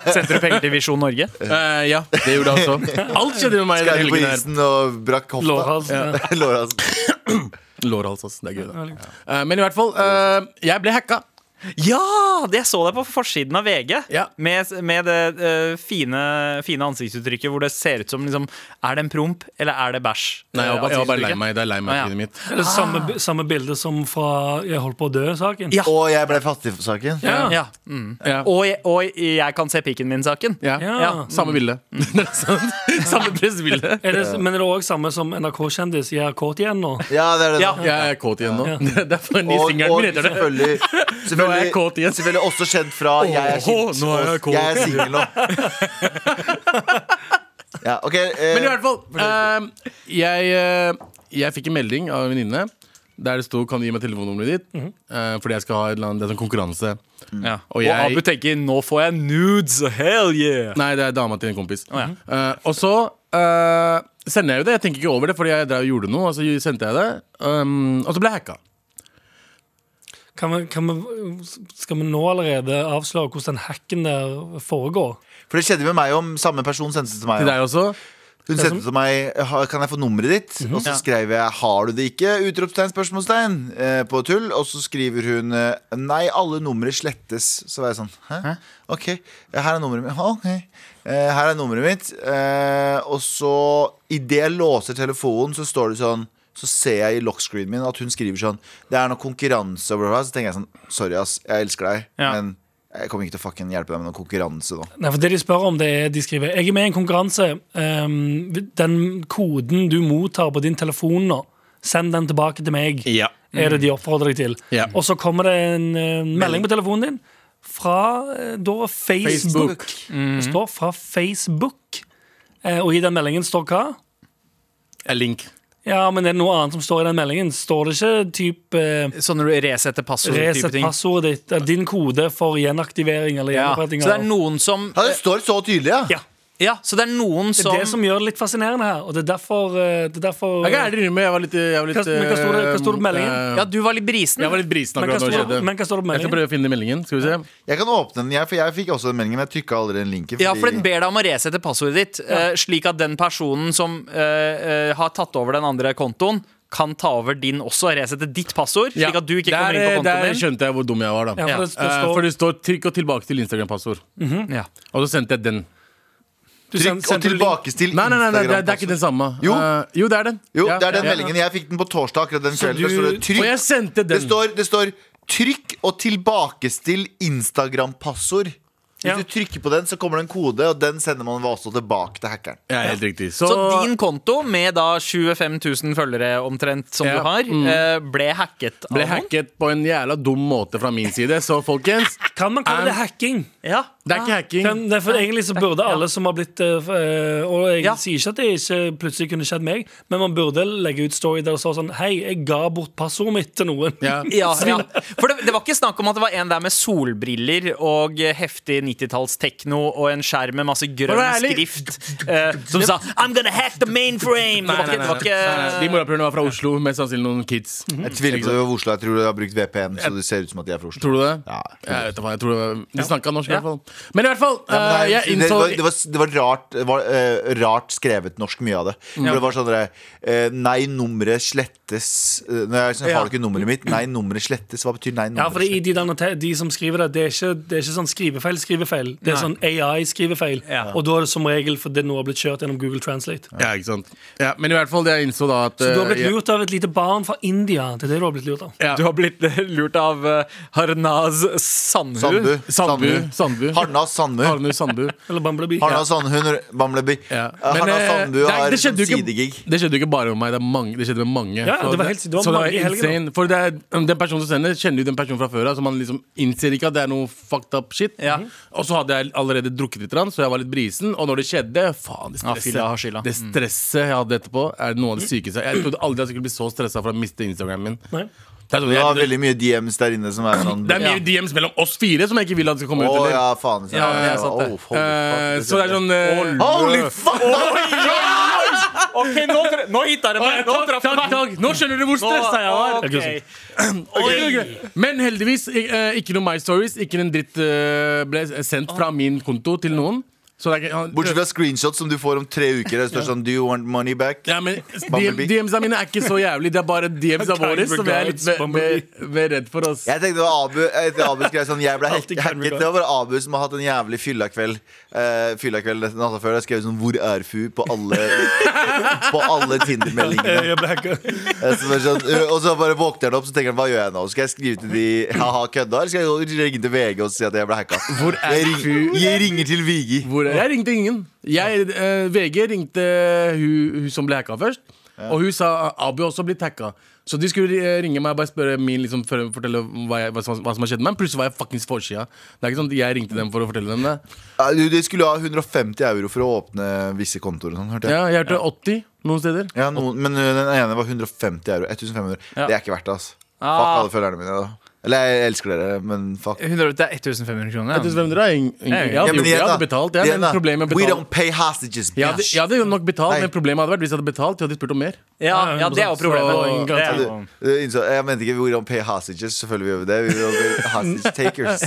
sendte du penger til Visjon Norge. Eh, ja, det gjorde jeg også. Alt skjedde med meg i Skrev den på helgen. her isen og brakk hofta Lårhals. Ja. Lårhals Lårhals, altså, ass. Det er gøy, da. liksom. Eh, men i hvert fall, eh, jeg ble hacka. Ja! det Jeg så deg på forsiden av VG Ja. med, med det eh, fine, fine ansiktsuttrykket hvor det ser ut som liksom, Er det en promp, eller er det bæsj? Nei, jeg var, jeg var bare lei Ansiktsuttrykket. meg. Det er lei Ah, ja. meg-tiden mitt. Det er det samme, bi- samme bilde som fra Jeg holdt på å dø-saken. Ja. Og jeg ble fattig for saken Ja. Ja. Mm. Ja. Og, jeg, og jeg kan se pikken min-saken. Ja. Ja. Samme bilde. Det er sant. Samme brystbilde. Er det, men er det òg samme som NRK-kjendis? Jeg er kåt igjen nå. Ja, det er det Ja. da Jeg er kåt igjen nå. Derfor er ny Og, singelen og min heter det. selvfølgelig, Nå er jeg selvfølgelig, kåt igjen. selvfølgelig også kjent fra Jeg er skilt. nå er jeg og kåt. Jeg er singel nå. Ja, ok eh, Men i hvert fall, eh, jeg, eh, jeg fikk en melding av en venninne der det sto 'Kan du gi meg telefonnummeret ditt?' Eh, fordi jeg skal ha et eller annet, det er sånn konkurranse. Ja. Mm. Og Og, jeg- Abu tenker 'nå får jeg nudes', hell yeah! Nei, det er dama til en kompis. ja. Eh, og så eh, sender jeg jo det. Jeg tenker ikke over det, fordi jeg drev og gjorde noe. Og så sendte jeg det um, Og så ble jeg hacka. Kan vi, kan vi, skal vi nå allerede avsløre hvordan den hacken der foregår? For det skjedde med meg om samme person sendte det til meg. Til om. deg også. Hun sendte til meg «Ha- 'Kan jeg få nummeret ditt?' Og så skrev jeg 'Har du det ikke?' Utropstegn, spørsmålstegn eh, på tull. Og så skriver hun eh, 'Nei, alle numre slettes'. Så var jeg sånn Hæ? Ok, her er nummeret mitt. Ok. Eh, Her er nummeret mitt. Eh, Og så, idet jeg låser telefonen, så står det sånn så ser jeg i lockscreenen min at hun skriver sånn Det er noe konkurranse og bla, bla, bla. Så tenker jeg sånn Sorry, ass. Jeg elsker deg, Ja. men jeg kommer ikke til å fucking hjelpe deg med noen konkurranse nå. Nei, for det De spør om det er, de skriver Jeg er med i en konkurranse. Ehm, den koden du mottar på din telefon nå, send den tilbake til meg. Ja. Er det de oppfordrer deg til. Mm. Ja. Og så kommer det en eh, Mm. melding på telefonen din fra eh, da Facebook. Facebook. Mm. Det står fra Facebook. Eh, og i den meldingen står hva? Jeg er link. Ja, men er det noe annet som står i den meldingen? Står det ikke typ eh, Sånn når du resetter passord-type Resett ting. passordet ditt, eller din kode for gjenaktivering eller Ja. Så gjenoppretting. det er av- noen som Ja, det står så tydelig, ja. ja. Ja, så det er noen Det som, er det som gjør det litt fascinerende her. Og det er derfor, eh, det er derfor Jeg kan ærlig innrømme, jeg var litt Jeg var litt, Hva- men hva står det- hva står det på meldingen? eh, Ja, du var litt brisen. jeg var litt brisen Men hva akkurat da det står det- skjedde. men hva står det på Jeg skal meldingen? prøve å finne meldingen. Skal vi se. Jeg kan åpne den, jeg, for jeg fikk også den meldingen. Men jeg trykka aldri den linken. Ja, for den ber deg om å resette passordet ditt, eh, slik at den personen som eh, eh, har tatt over den andre kontoen, kan ta over din også. Resette ditt passord, Ja, slik at du ikke kommer inn der, på der kontoen din. skjønte jeg hvor dum jeg var, da. Ja, for det- det Eh, står- for det står 'trykk og tilbake til Instagram-passord'. Ja. Og så sendte jeg den. du send- Trykk og sendte du link- tilbakestill Nei, nei, nei, nei det, er- det er Instagram-passord. ikke den samme. Jo. Eh, jo, det er den. Jo, Ja, det er den ja. meldingen. Jeg fikk den på torsdag akkurat den kvelden. du- Der står det Og jeg trykk. sendte den. Det står, det står trykk og tilbakestill Instagram-passord. Hvis Ja. du trykker på den, så kommer det en kode, og den sender man også tilbake til hackeren. Ja, helt riktig. Så, Så din konto, med da 25 000 følgere omtrent, som Ja, du har, eh, ble hacket av ble noen? hacket på en jævla dum måte fra min side, så folkens Kan man kalle det hacking? Ja. Det er ikke hacking. Kan, det er for egentlig så burde alle som har blitt eh, f- eh, Og jeg Ja. sier ikke at det ikke plutselig kunne skjedd meg, men man burde legge ut story der det står sånn Hei, jeg ga bort passordet mitt til noen. Ja. Ja, ja. For det, det var ikke snakk om at det var en der med solbriller og eh, heftig 90-talls-tekno og en skjerm med masse grønn Vær ærlig. skrift eh, som sa 'I'm gonna hack the mainframe'! Det var ikke, det var ikke De morapulerne var fra Oslo, mest sannsynlig noen kids. Mhm. Jeg tviler på det over Oslo. Jeg tror de har brukt VPN, så det ser ut som at de er fra Oslo. Tror du det? Ja. Jeg vet da hva, jeg tror det var- De snakka norsk, i hvert fall. Men i hvert fall, Ja, men eh, det, jeg er- det, innså var, det, var, det var rart det var, eh, Rart skrevet norsk mye av det For det var sånn der, eh, Nei, nummeret slettes Eh, Når jeg sånn, har du ikke nummeret mitt Nei, nummeret slettes Hva betyr nei, Ja, nummeret fordi i de, der note- de som skriver det, det er ikke, det er ikke sånn skrivefeil, skrivefeil. Det er sånn AI-skrivefeil. Ja. Og da er det som regel fordi det nå har blitt kjørt gjennom Google Translate. Ja, ikke sant ja, Men i hvert fall, det jeg innså da at Så du har eh, blitt jeg- lurt av et lite barn fra India. Det er det du har blitt lurt av. ja. Du har blitt eh, lurt av eh, Harnaz Sandhu. Sandbu. Sandbu. Sandbu. Sandbu. Harnas Sandbu. Harnu Sandbu. Eller Bumblebee. Harnas Sandhund Bamleby. Ja. Harnas eh, Sandbu det er- har det skjedde jo ikke- sidegig. Det skjedde jo ikke bare med meg, det, er mange, det skjedde med mange. Ja, Så- det var helt- det var så mange i helgen, da. insane. For det er, den personen som sender, kjenner jo den personen fra før av, så man liksom innser ikke at det er noe fucked up shit. Ja. Og så hadde jeg allerede drukket litt, grann, så jeg var litt brisen. Og når det skjedde, faen, det Ja, fylla har stresset, skylda. det stresset jeg hadde etterpå, er noe av det sykeste. Jeg trodde aldri jeg skulle bli så stressa for å miste Instagramen min. Nei. Det er, sånn, Du har jeg, veldig mye DMs der inne som er sånn det er mye DMs mellom oss fire som jeg ikke vil at skal komme Å ut. eller? ja, faen. Ja, jeg satt der. Oh, holy Eh, fuck. så det er sånn eh, Holy fuck! Ah, Ok, nå, tra- nå hitta det meg! Nå traff det meg! Nå skjønner du hvor Nå- stressa jeg var! ok. Ok, ok. Men heldigvis, ik- eh, ikke noe My Stories. Ikke en dritt eh, ble sendt fra min konto til noen. Så det er ikke, han- Bortsett fra screenshots som du får om tre uker. Det står sånn Do you want money back? ja, men DM, Bumblebee. DMs-a mine er ikke så jævlig. Det er bare DMs-a våre som jeg er litt ve- ve- ve- redd for. Oss. Jeg tenkte det var Abu etter Abu skrev sånn Jeg ble hack- Alltid kan hacket. vi gå. Det var bare Abu som har hatt en jævlig fyllakveld uh, fyllakveld nesten natta før. Jeg skrev sånn Hvor er fu? på alle På alle Tinder-meldingene. Jeg ble hacka. Eh, så det er sånn, eh, og så bare våkner han opp Så tenker han hva gjør jeg nå? Skal jeg skrive til de haha kødda, eller skal jeg ringe til VG og si at jeg ble hacka? Hvor er jeg, ring, fu? jeg ringer til Vigi. Hvor, jeg ringte ingen. Jeg, eh, VG ringte hun, hun som ble hacka først. Og hun sa Abu har også blitt hacka. Så de skulle eh, ringe meg og bare spørre min liksom, for, fortelle hva, jeg, hva, som, hva som har skjedd med meg. Plutselig var jeg fuckings forsida. Det er ikke sånn at jeg ringte dem for å fortelle dem det. Ja, Eh, du, de skulle ha 150 euro for å åpne visse kontoer og sånn, hørte jeg. Ja, jeg hørte 80 noen steder. Ja, noen, men ø, den ene var 150 euro. 1500. Ja. Det er ikke verdt det, altså. Fuck Ah. alle følgerne mine, da. Eller jeg elsker dere, men fuck. 100, det er 1500 kroner. ja. 1500 er ing- ing- Jeg Ja, hadde, men igjen gjort, jeg da. hadde betalt. Jeg Igjen hadde da. en problem med å We betale. don't pay hostages, Jeg hadde, bitch. jeg hadde jo nok betalt, Nei. men problemet hadde vært hvis jeg hadde betalt. Jeg hadde spurt om mer. Ja, ja, det er jo problemet. Så- Det er, Du, du innså, jeg mente ikke we don't pay hostages. Selvfølgelig gjør vi det. We don't pay hostage takers.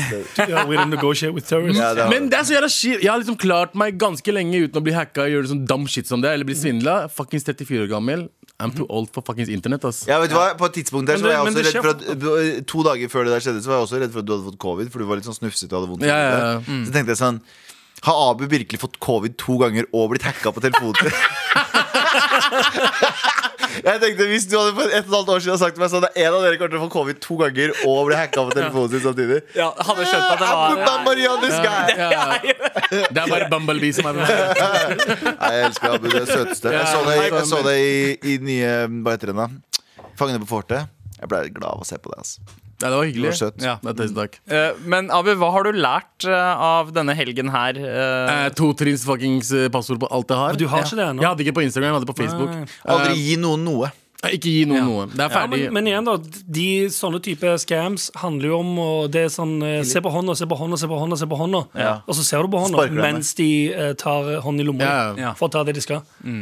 Yeah, we don't negotiate with terrorists. Ja, det var- Men det er så jævla shit. Jeg har liksom klart meg ganske lenge uten å bli hacka og gjøre sånn dum shit som det, eller bli Mm. svindla. Fuckings 34 år gammel. I'm too old for fuckings internett, ass. ja, vet du hva? På et tidspunkt der så var jeg også Men det- men det redd for at ø, To dager før det der skjedde, Så var jeg også redd for at du hadde fått covid, for du var litt sånn snufsete og hadde vondt. i Ja, ja, hodet. Så tenkte jeg sånn Har Abu virkelig fått covid to ganger og blitt hacka på telefonen? Jeg tenkte Hvis du hadde for et og et halvt år siden sagt til meg sånn Det er en av dere kommer til å få covid to ganger og bli hacka på telefonen sin samtidig. Eh, ja, hadde skjønt at det Abu var Bambari on this guy. Ja, ja. Det er bare Bumblebee som er med. Nei, jeg elsker Abu, det er søteste. Jeg så det, jeg så det i, i nye Hva heter den, da? 'Fangene på fortet'. Jeg ble glad av å se på det. Altså. Ja, det var Det hyggelig. var søtt. Ja. Nei, Tusen takk. Eh, Men Abu, hva har du lært eh, av denne helgen her? Eh, Eh, Totrinns fuckings eh, passord på alt jeg har. Du har ikke det Jeg ennå. hadde ikke på Instagram, jeg hadde på Nei. Facebook. Aldri gi noen noe. Eh, Ikke gi noen noe. Det er Ja, ferdig. men, men igjen, da. De sånne type scams handler jo om og det er sånn eh, Se på hånda, se på hånda, se på hånda. Se på hånda. Og så ser du på hånda Sparker dem. mens de eh, tar hånden i lomma Ja, ja. for å ta det de skal. Det,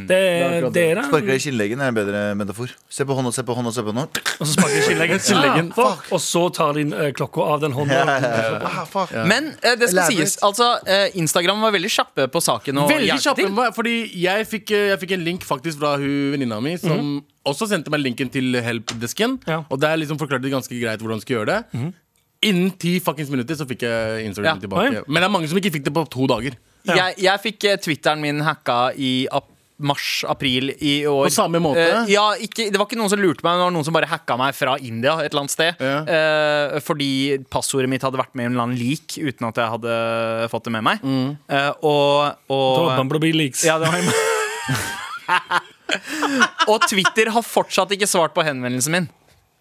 akkurat det er Sparke det. deg i kinnleggen er en bedre metafor. Se på hånda, se på hånda, se på hånda. Og så sparker de skilleggen. Skilleggen. Ah, fuck. og så tar de eh, klokka av den hånda. Ah, fuck. Men eh, det skal Elaborate. sies, altså eh, Instagram var veldig kjappe på saken. Og Veldig hjalp kjapp. til. men hva- Fordi jeg fikk, eh, jeg fikk en link faktisk fra hun venninna mi, som Mhm. også sendte meg linken til helpdesken. Ja. Og der liksom forklarte de ganske greit hvordan du skulle gjøre det. Innen ti fuckings minutter så fikk jeg Instagram Mhm. Ja. tilbake. Oi. Men det er mange som ikke fikk det på to dager. Jeg, jeg fikk eh, Twitteren min hacka i mars-april i år. På samme måte? Eh, ja, ikke, det var ikke noen som lurte meg, men det var noen som bare hacka meg fra India et eller annet sted. Ja. Eh, fordi passordet mitt hadde vært med i en eller annen leak uten at jeg hadde fått det med meg. Mm. Eh, og, Da og, var Bumblebee leaks. Ja, det var Og Twitter har fortsatt ikke svart på henvendelsen min.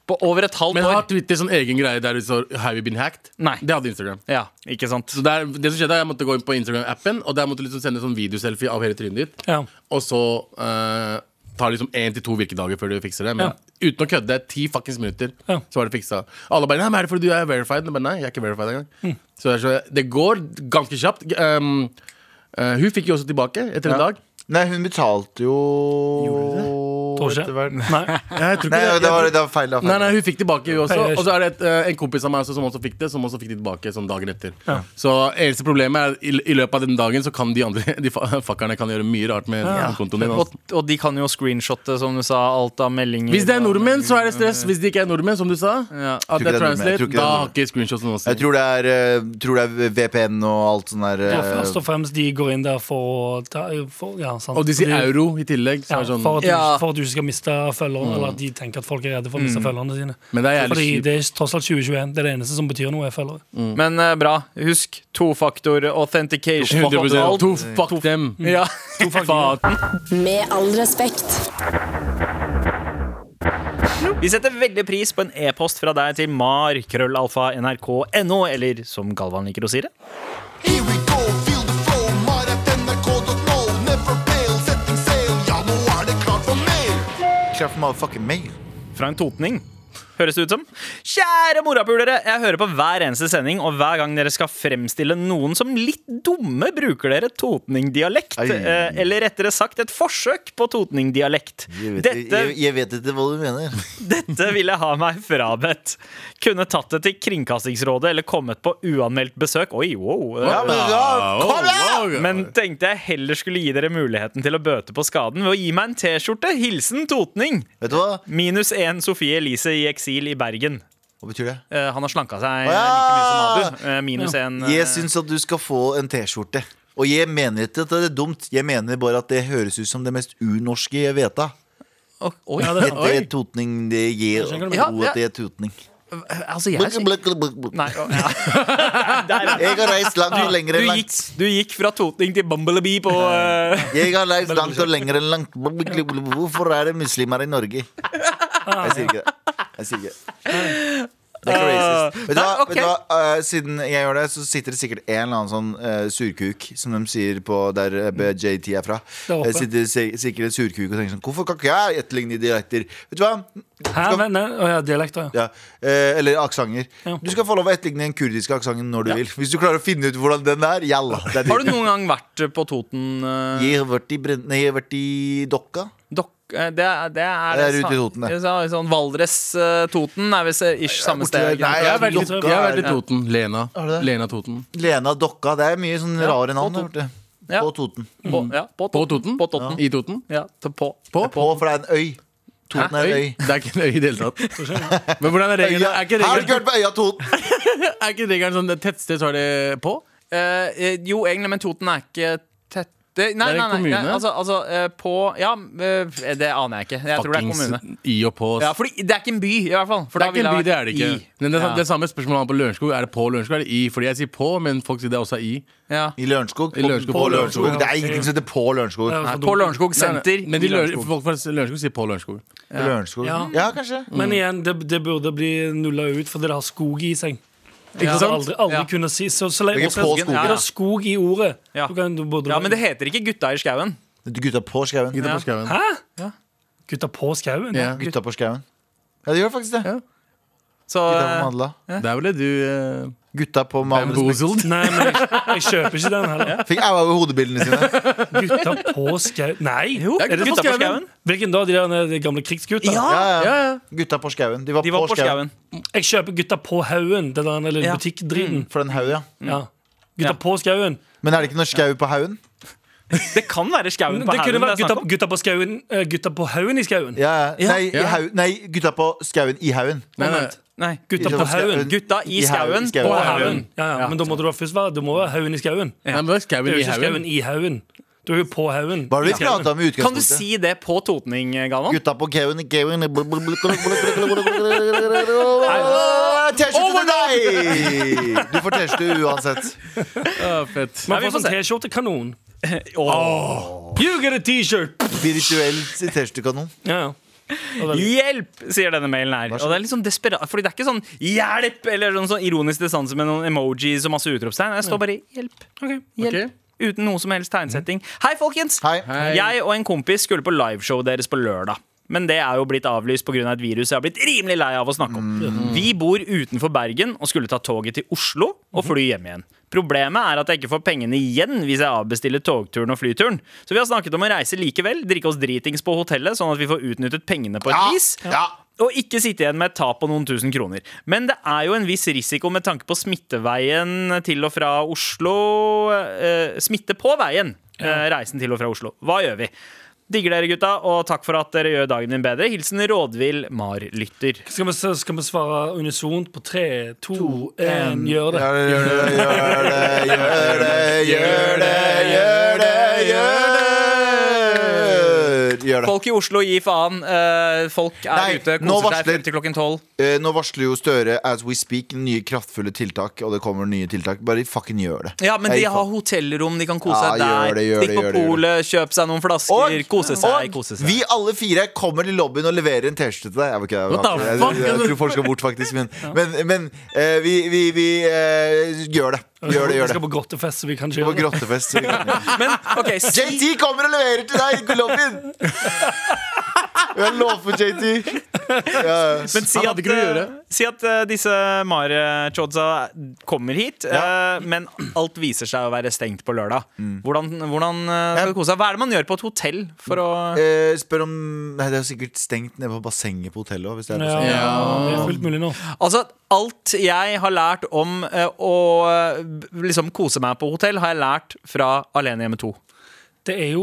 På over et halvt Men har år. Twitter sånn egen greie der du så Have you been hacked? Nei. Det hadde Instagram. Ja, ikke sant Så der, det som skjedde, er Jeg måtte gå inn på Instagram-appen, og der måtte du liksom sende sånn videoselfie av hele trynet ditt. Ja. Og så eh, tar det liksom én til to virkedager før du fikser det. Men Ja. uten å kødde, det er ti fuckings minutter, Ja. så var det fiksa. Alle bare 'Nei, men er det fordi du er verified?' Men nei, jeg er ikke verified engang. Så, det er så det går ganske kjapt. Um, eh, hun fikk jo også tilbake etter en dag. Nei, hun betalte jo Tror ikke. etter hvert. Nei. Jeg tror ikke Nei, det- det var, det var feil. Det var feil. Nei, nei, hun fikk tilbake hun også. Peiler. Og så er det et, eh, en kompis av meg også, som også fikk det, som også fikk det tilbake sånn dagen etter. Så eneste problemet er at i, i løpet av den dagen så kan de andre De fa- fuckerne kan gjøre mye rart med kontoen din. Og, Altså. og de kan jo screenshotte, som du sa, alt av meldinger. Hvis det er nordmenn, så er det stress. Hvis de ikke er nordmenn, som du sa, Ja. at Tror ikke det det er er nordmenn. Jeg tror translate, ikke det er da nordmenn. har ikke screenshots noe å si. Jeg tror det er, eh, tror det er VPN og alt sånn der. Ja, eh, først og fremst de går inn der for å ta for, ja, sant. Og de sier euro i tillegg. Så Ja, er det sånn, Mm. for, at du, Ja. for at du ikke skal miste følgere, eller at de tenker at folk er redde for å miste følgerne sine. men det er jævlig Fordi kjipt. Mm. det er tross alt 2021. Det er det eneste som betyr noe, er følgere. Men eh, bra. Husk tofaktor authentication. 100 To fuck dem. Ja. Faen. Med all respekt. Vi setter veldig pris på en e-post fra deg til mar.krøllalfa.nrk.no, eller som Galvan liker å si det. Here we go, feel the flow. Mar at nrk.no, never fail. Setting sail, ja, nå er det klart for mer. Kraft motherfucking meg. Fra en totning. Høres det ut som? Kjære morapulere! Jeg hører på hver eneste sending, og hver gang dere skal fremstille noen som litt dumme, bruker dere totningdialekt. Ei. eh, Eller rettere sagt et forsøk på totningdialekt. Jeg vet, Dette jeg, jeg vet ikke hva du mener. Dette vil jeg ha meg frabedt. Kunne tatt det til Kringkastingsrådet eller kommet på uanmeldt besøk. Oi, wow. Ja, men da, kom igjen! Men tenkte jeg heller skulle gi dere muligheten til å bøte på skaden ved å gi meg en T-skjorte. Hilsen Totning. Vet du hva? Minus én Sofie Elise i eksil i Bergen. Hva betyr det? Eh, han har slanka seg like mye Ah! som Abu. Eh, minus én. eh, Jeg syns at du skal få en T-skjorte. Og jeg mener ikke at det er dumt. Jeg mener bare at det høres ut som det mest unorske jeg vet av. Å, oi. Det er totning. Det gir skjønner hva du tro at det er totning. Altså, jeg Bluk, syns bluk, bluk, bluk. Nei, å, ja. Der, er det. Jeg har reist langt og lenger du, enn gikk, langt. du gikk fra Totning til Bumblebee på eh, Jeg har reist langt og lenger enn langt. Bluk, bluk, bluk, bluk. Hvorfor er det muslimer i Norge? Jeg sier ikke det. Jeg sier ikke det. Det er ikke racist. Vet du hva, Ah. Nei, ok. vet du hva? Eh, siden jeg gjør det, så sitter det sikkert en eller annen sånn eh, surkuk, som de sier på der eh, JT er fra. Der oppe. Eh, sitter si- sikkert en surkuk og tenker sånn Hvorfor kan ikke jeg etterligne dialekter? Vet du hva? Hæ? Skal- Nei, nei, å ja, dialekter, ja. Ja. Eh, eller aksenter. Ja. Du skal få lov å etterligne den kurdiske aksenten når du vil. Hvis du klarer å finne ut hvordan den er, jalla. Det er Har du ditt. noen gang vært på Toten? eh, Jeg har vært i, Brenn- nei, jeg har vært i Dokka. Dok eh, det, er- det er Det er ute i sa- Toten, det. det er sånn Valdres-Toten er visst eh, ish samme sted. Nei, altså, Jeg har vært Dokka litt- jeg har vært i er- Toten. Lena. det? Lena Toten. Lena Dokka. Det er mye sånn rare navn. på vet Toten. du. Ja. På Toten. På, ja, på På Toten. Toten? På Toten. I Toten? Ja, til på. På? På, for det er en øy. Toten er en øy. Det er ikke en øy i det hele tatt. Men hvordan er regelen? Er ikke Øya- Har du ikke hørt regelen, på øya Toten? er ikke regelen sånn det er tettsted, så er det på? Eh, eh, jo, egentlig, men Toten er ikke tett det, nei, Det er en nei, nei, nei, kommune. altså, altså eh, på Ja, eh, det aner jeg ikke. Jeg tror det er kommune. Fuckings I og på. ass. Ja, fordi det er ikke en by, i hvert fall. det For da er ikke en ville by, det jeg er det vært ikke. i. Men det, er Ja. sa- det er samme spørsmålet han på Lørenskog. Er det på Lørenskog eller i? Fordi jeg sier på, men folk sier det er også i. Ja. I Lørenskog. I Lørenskog. På Lørenskog. Ja. Det er ingenting som heter på Lørenskog. Det er Nei, for På dumt. Lørenskog senter. Men de i Løren- Lørenskog. folk fra Lørenskog sier på Lørenskog. På Lørenskog. Ja. Ja, kanskje. Mm. Men igjen, det, det burde bli nulla ut fordi det har skog i seg. Ikke Ja. sant? Aldri, aldri Ja. kunne si så, så lenge Det er ikke på også- skogen. Er det skog i ordet? Ja. Du kan, du burde, Ja, men det heter ikke Gutta i skauen. Det er Gutta på skauen. Gutta på skauen. Hæ? Gutta på skauen? Ja. Gutta på skauen. Ja, det gjør faktisk det. Ja. Så Gutta på eh, Madla. Der ble du eh, Gutta på Madla. bamboozled. Nei, men jeg, jeg kjøper ikke den heller. Fikk au over hodebildene sine. Gutta på skauen Nei! Jo, er det Gutta på skauen. Hvilken da? De, der, de gamle krigsgutta? Ja, ja. Ja, ja. Gutta på skauen. De var, De var på skauen. Jeg kjøper Gutta på haugen. Den der lille Ja. butikkdriten. For den haug, ja. Ja. Gutta Ja. på skauen. Men er det ikke noe skau på haugen? Det kan være skauen på Det kunne haugen. vært gutta, gutta på skauen eh, Gutta på haugen i skauen. Ja, ja. Nei, i Ja. haug, nei, gutta på skauen i haugen. Nei, nei. Omvendt. Nei, Gutta Ikke på på haugen. skauen. Gutta i I skauen haugen, skauen. på På haugen. haugen. Ja, ja. Men da må du da først være Det må være haugen i skauen. Nei, men det er Det skauen er i jo ikke skauen haugen. i haugen. Du er jo på haugen. Hva var det I vi skauen. prata om i utgangspunktet? Kan du si det på totning, Galvan? Gutta på Kevin Kevin T-skjorte til deg! Du får T-skjorte uansett. Ja, fett. Man Nei, vi får får sånn se. T-skjorte-kanon. Åh. You get a T-shirt! Spirituelt T-skjortekanon. Ja, ja. Hjelp, sier denne mailen her. Og det er litt sånn desperat, fordi det er ikke sånn 'hjelp' eller sånn, sånn ironisk distanse med noen emojis og masse utropstegn. Det står bare 'hjelp'. hjelp. Ok. Uten noe som helst tegnsetting. Hei, folkens! Hei. Hei. Jeg og en kompis skulle på liveshowet deres på lørdag. men det er jo blitt avlyst pga. Av et virus jeg har blitt rimelig lei av å snakke om. Mm. Vi bor utenfor Bergen og skulle ta toget til Oslo og fly hjem igjen. Problemet er at jeg ikke får pengene igjen hvis jeg avbestiller togturen og flyturen. Så vi har snakket om å reise likevel, drikke oss dritings på hotellet, sånn at vi får utnyttet pengene på et vis. ja. Og ikke sitte igjen med et tap på noen tusen kroner. Men det er jo en viss risiko med tanke på smitteveien til og fra Oslo eh, Smitte på veien, eh, reisen til og fra Oslo. Hva gjør vi? Digger dere, gutta, og takk for at dere gjør dagen din bedre. Hilsen rådvill Mar-lytter. Skal vi, s- skal vi svare unisont på tre, to, én, gjør det? Gjør det, gjør det, gjør det, gjør det, gjør det, gjør det. Gjør det. Folk i Oslo gir faen. Eh, folk er Nei, ute, nå koser seg varsler- frem til klokken tolv. Eh, Nå varsler jo Støre as we speak nye kraftfulle tiltak, og det kommer nye tiltak. Bare fucking gjør det. Ja, men Jeg de gikk har faen. hotellrom, de kan kose Ja, seg der. gjør det, gjør det, Stikk på gjør det, gjør polet, kjøp seg noen flasker, kose seg. og kose seg. vi alle fire kommer til lobbyen og leverer en T-skjorte til deg. Jeg, vet ikke, jeg, What the jeg, jeg, fuck? jeg, tror folk skal bort, faktisk. Men, men, men eh, vi, vi, vi eh, gjør det. Gjør det, Vi gjør skal det. på grottefest, så vi kan ikke På gjøre det. grottefest. så vi kan- Men ok, si JT kommer og leverer til deg i lobbyen! Jeg lover JT. Ja, ja. Men si Han at, hadde ikke noe å eh, gjøre. si at eh, disse Mare-chodsa kommer hit, eh, men alt viser seg å være stengt på lørdag. Mm. Hvordan, hvordan eh, skal du kose deg? Hva er det man gjør på et hotell for å Eh, spør om Nei, det er jo sikkert stengt nede på bassenget på hotellet også, hvis det er Ja, basseng. Det er fullt mulig nå. Altså, alt jeg har lært om eh, å eh, b- liksom kose meg på hotell, har jeg lært fra Alene hjemme 2. Det er jo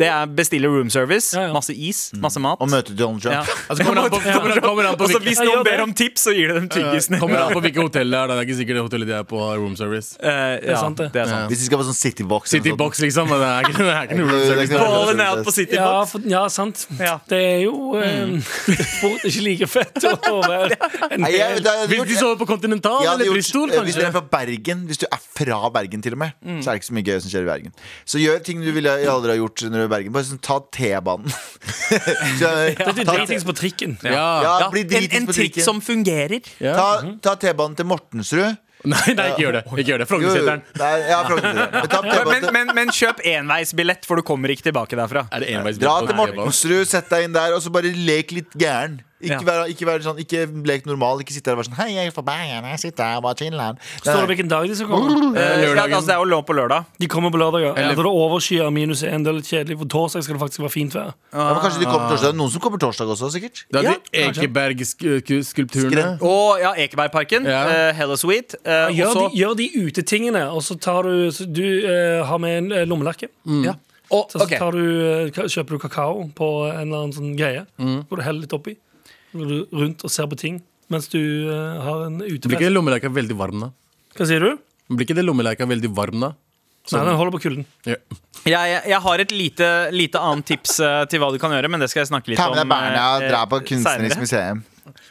Det er bestille room service, Ja, ja. masse is, Mm. masse mat. Og møte Donald Ja. Trump. Altså, kommer an på, kommer an, kommer an på Og så hvilke- hvis Ja, gjør noen det. ber om tips, så gir de dem tyggisen. Kommer an på hvilket hotell det er. da. Det er ikke sikkert det hotellet de er på har room service. Eh, ja, sant, det. det er sant. Hvis de skal på sånn Citybox. City eller noe Eh, Box, liksom. Men det er ikke, det er ikke noe room Det er ikke service. noe- All in out på City ja, Box. for, ja, sant. Ja. Det er jo eh, fort ikke like fett å være en Nei, jeg, det hadde Hvis gjort- de sover på Continental jeg hadde eller gjort- Bristol, eh, Hvis du kanskje. er fra Bergen, hvis du er fra Bergen til og med, så er det ikke så mye gøy som skjer i Bergen. Så gjør ting du ville aldri ha gjort når du er i Bergen. Bare sånn, ta T-banen. Så, Det er ta- dritings på trikken. Ja. Ja, Ja, bli en, dritings en på trikk trikken. som fungerer. ja. Mhm. Ta ta T-banen til Mortensrud. Nei, nei, ikke gjør det. Ikke gjør Jo, jo, det. Frognerseteren. nei, ja, Frognerseteren. Men ta T-banen Men, til- men, men kjøp enveisbillett, for du kommer ikke tilbake derfra. Er det enveis Dra til Nei, det er bare- Mortensrud, sett deg inn der, og så bare lek litt gæren. Ikke, Ja. vær, ikke, vær sånn, ikke lek normal. Ikke sitte der og være sånn Hei, jeg er fra Bergen. Jeg sitter her og bare chiller'n. Står det hvilken dag de skal komme? Eh, ja, Lørdagen. altså, det er jo lov på lørdag. De kommer på lørdag, ja. Ja, Da er det overskyet minus én. Det er litt kjedelig. For torsdag skal det faktisk være fint vær. Ja, men kanskje de Ah. kommer torsdag. Det er Noen som kommer torsdag også, sikkert. Det er Ja, de Ekeberg-skulpturene. Og ja, Ekebergparken. Ja. eh, Hella Sweet. eh, Gjør og så- de, gjør de utetingene, og så tar du så Du eh, har med en eh, lommelakke. ja. Og, Så, så ok. tar du, eh, ka- kjøper du kakao på en eller annen sånn greie. Hvor du heller litt oppi. Så Går du rundt og ser på ting mens du eh, har en Blir ikke utefest. det lommeleika veldig varm, da? Hva sier du? Blir ikke det lommeleika veldig varm, da? Nei, den holder på kulden. Ja. Jeg, jeg har et lite, lite annet tips eh, til hva du kan gjøre, men det skal jeg snakke litt Ta om. med deg Berna og eh, dra på Kunstnerisk senere. museum.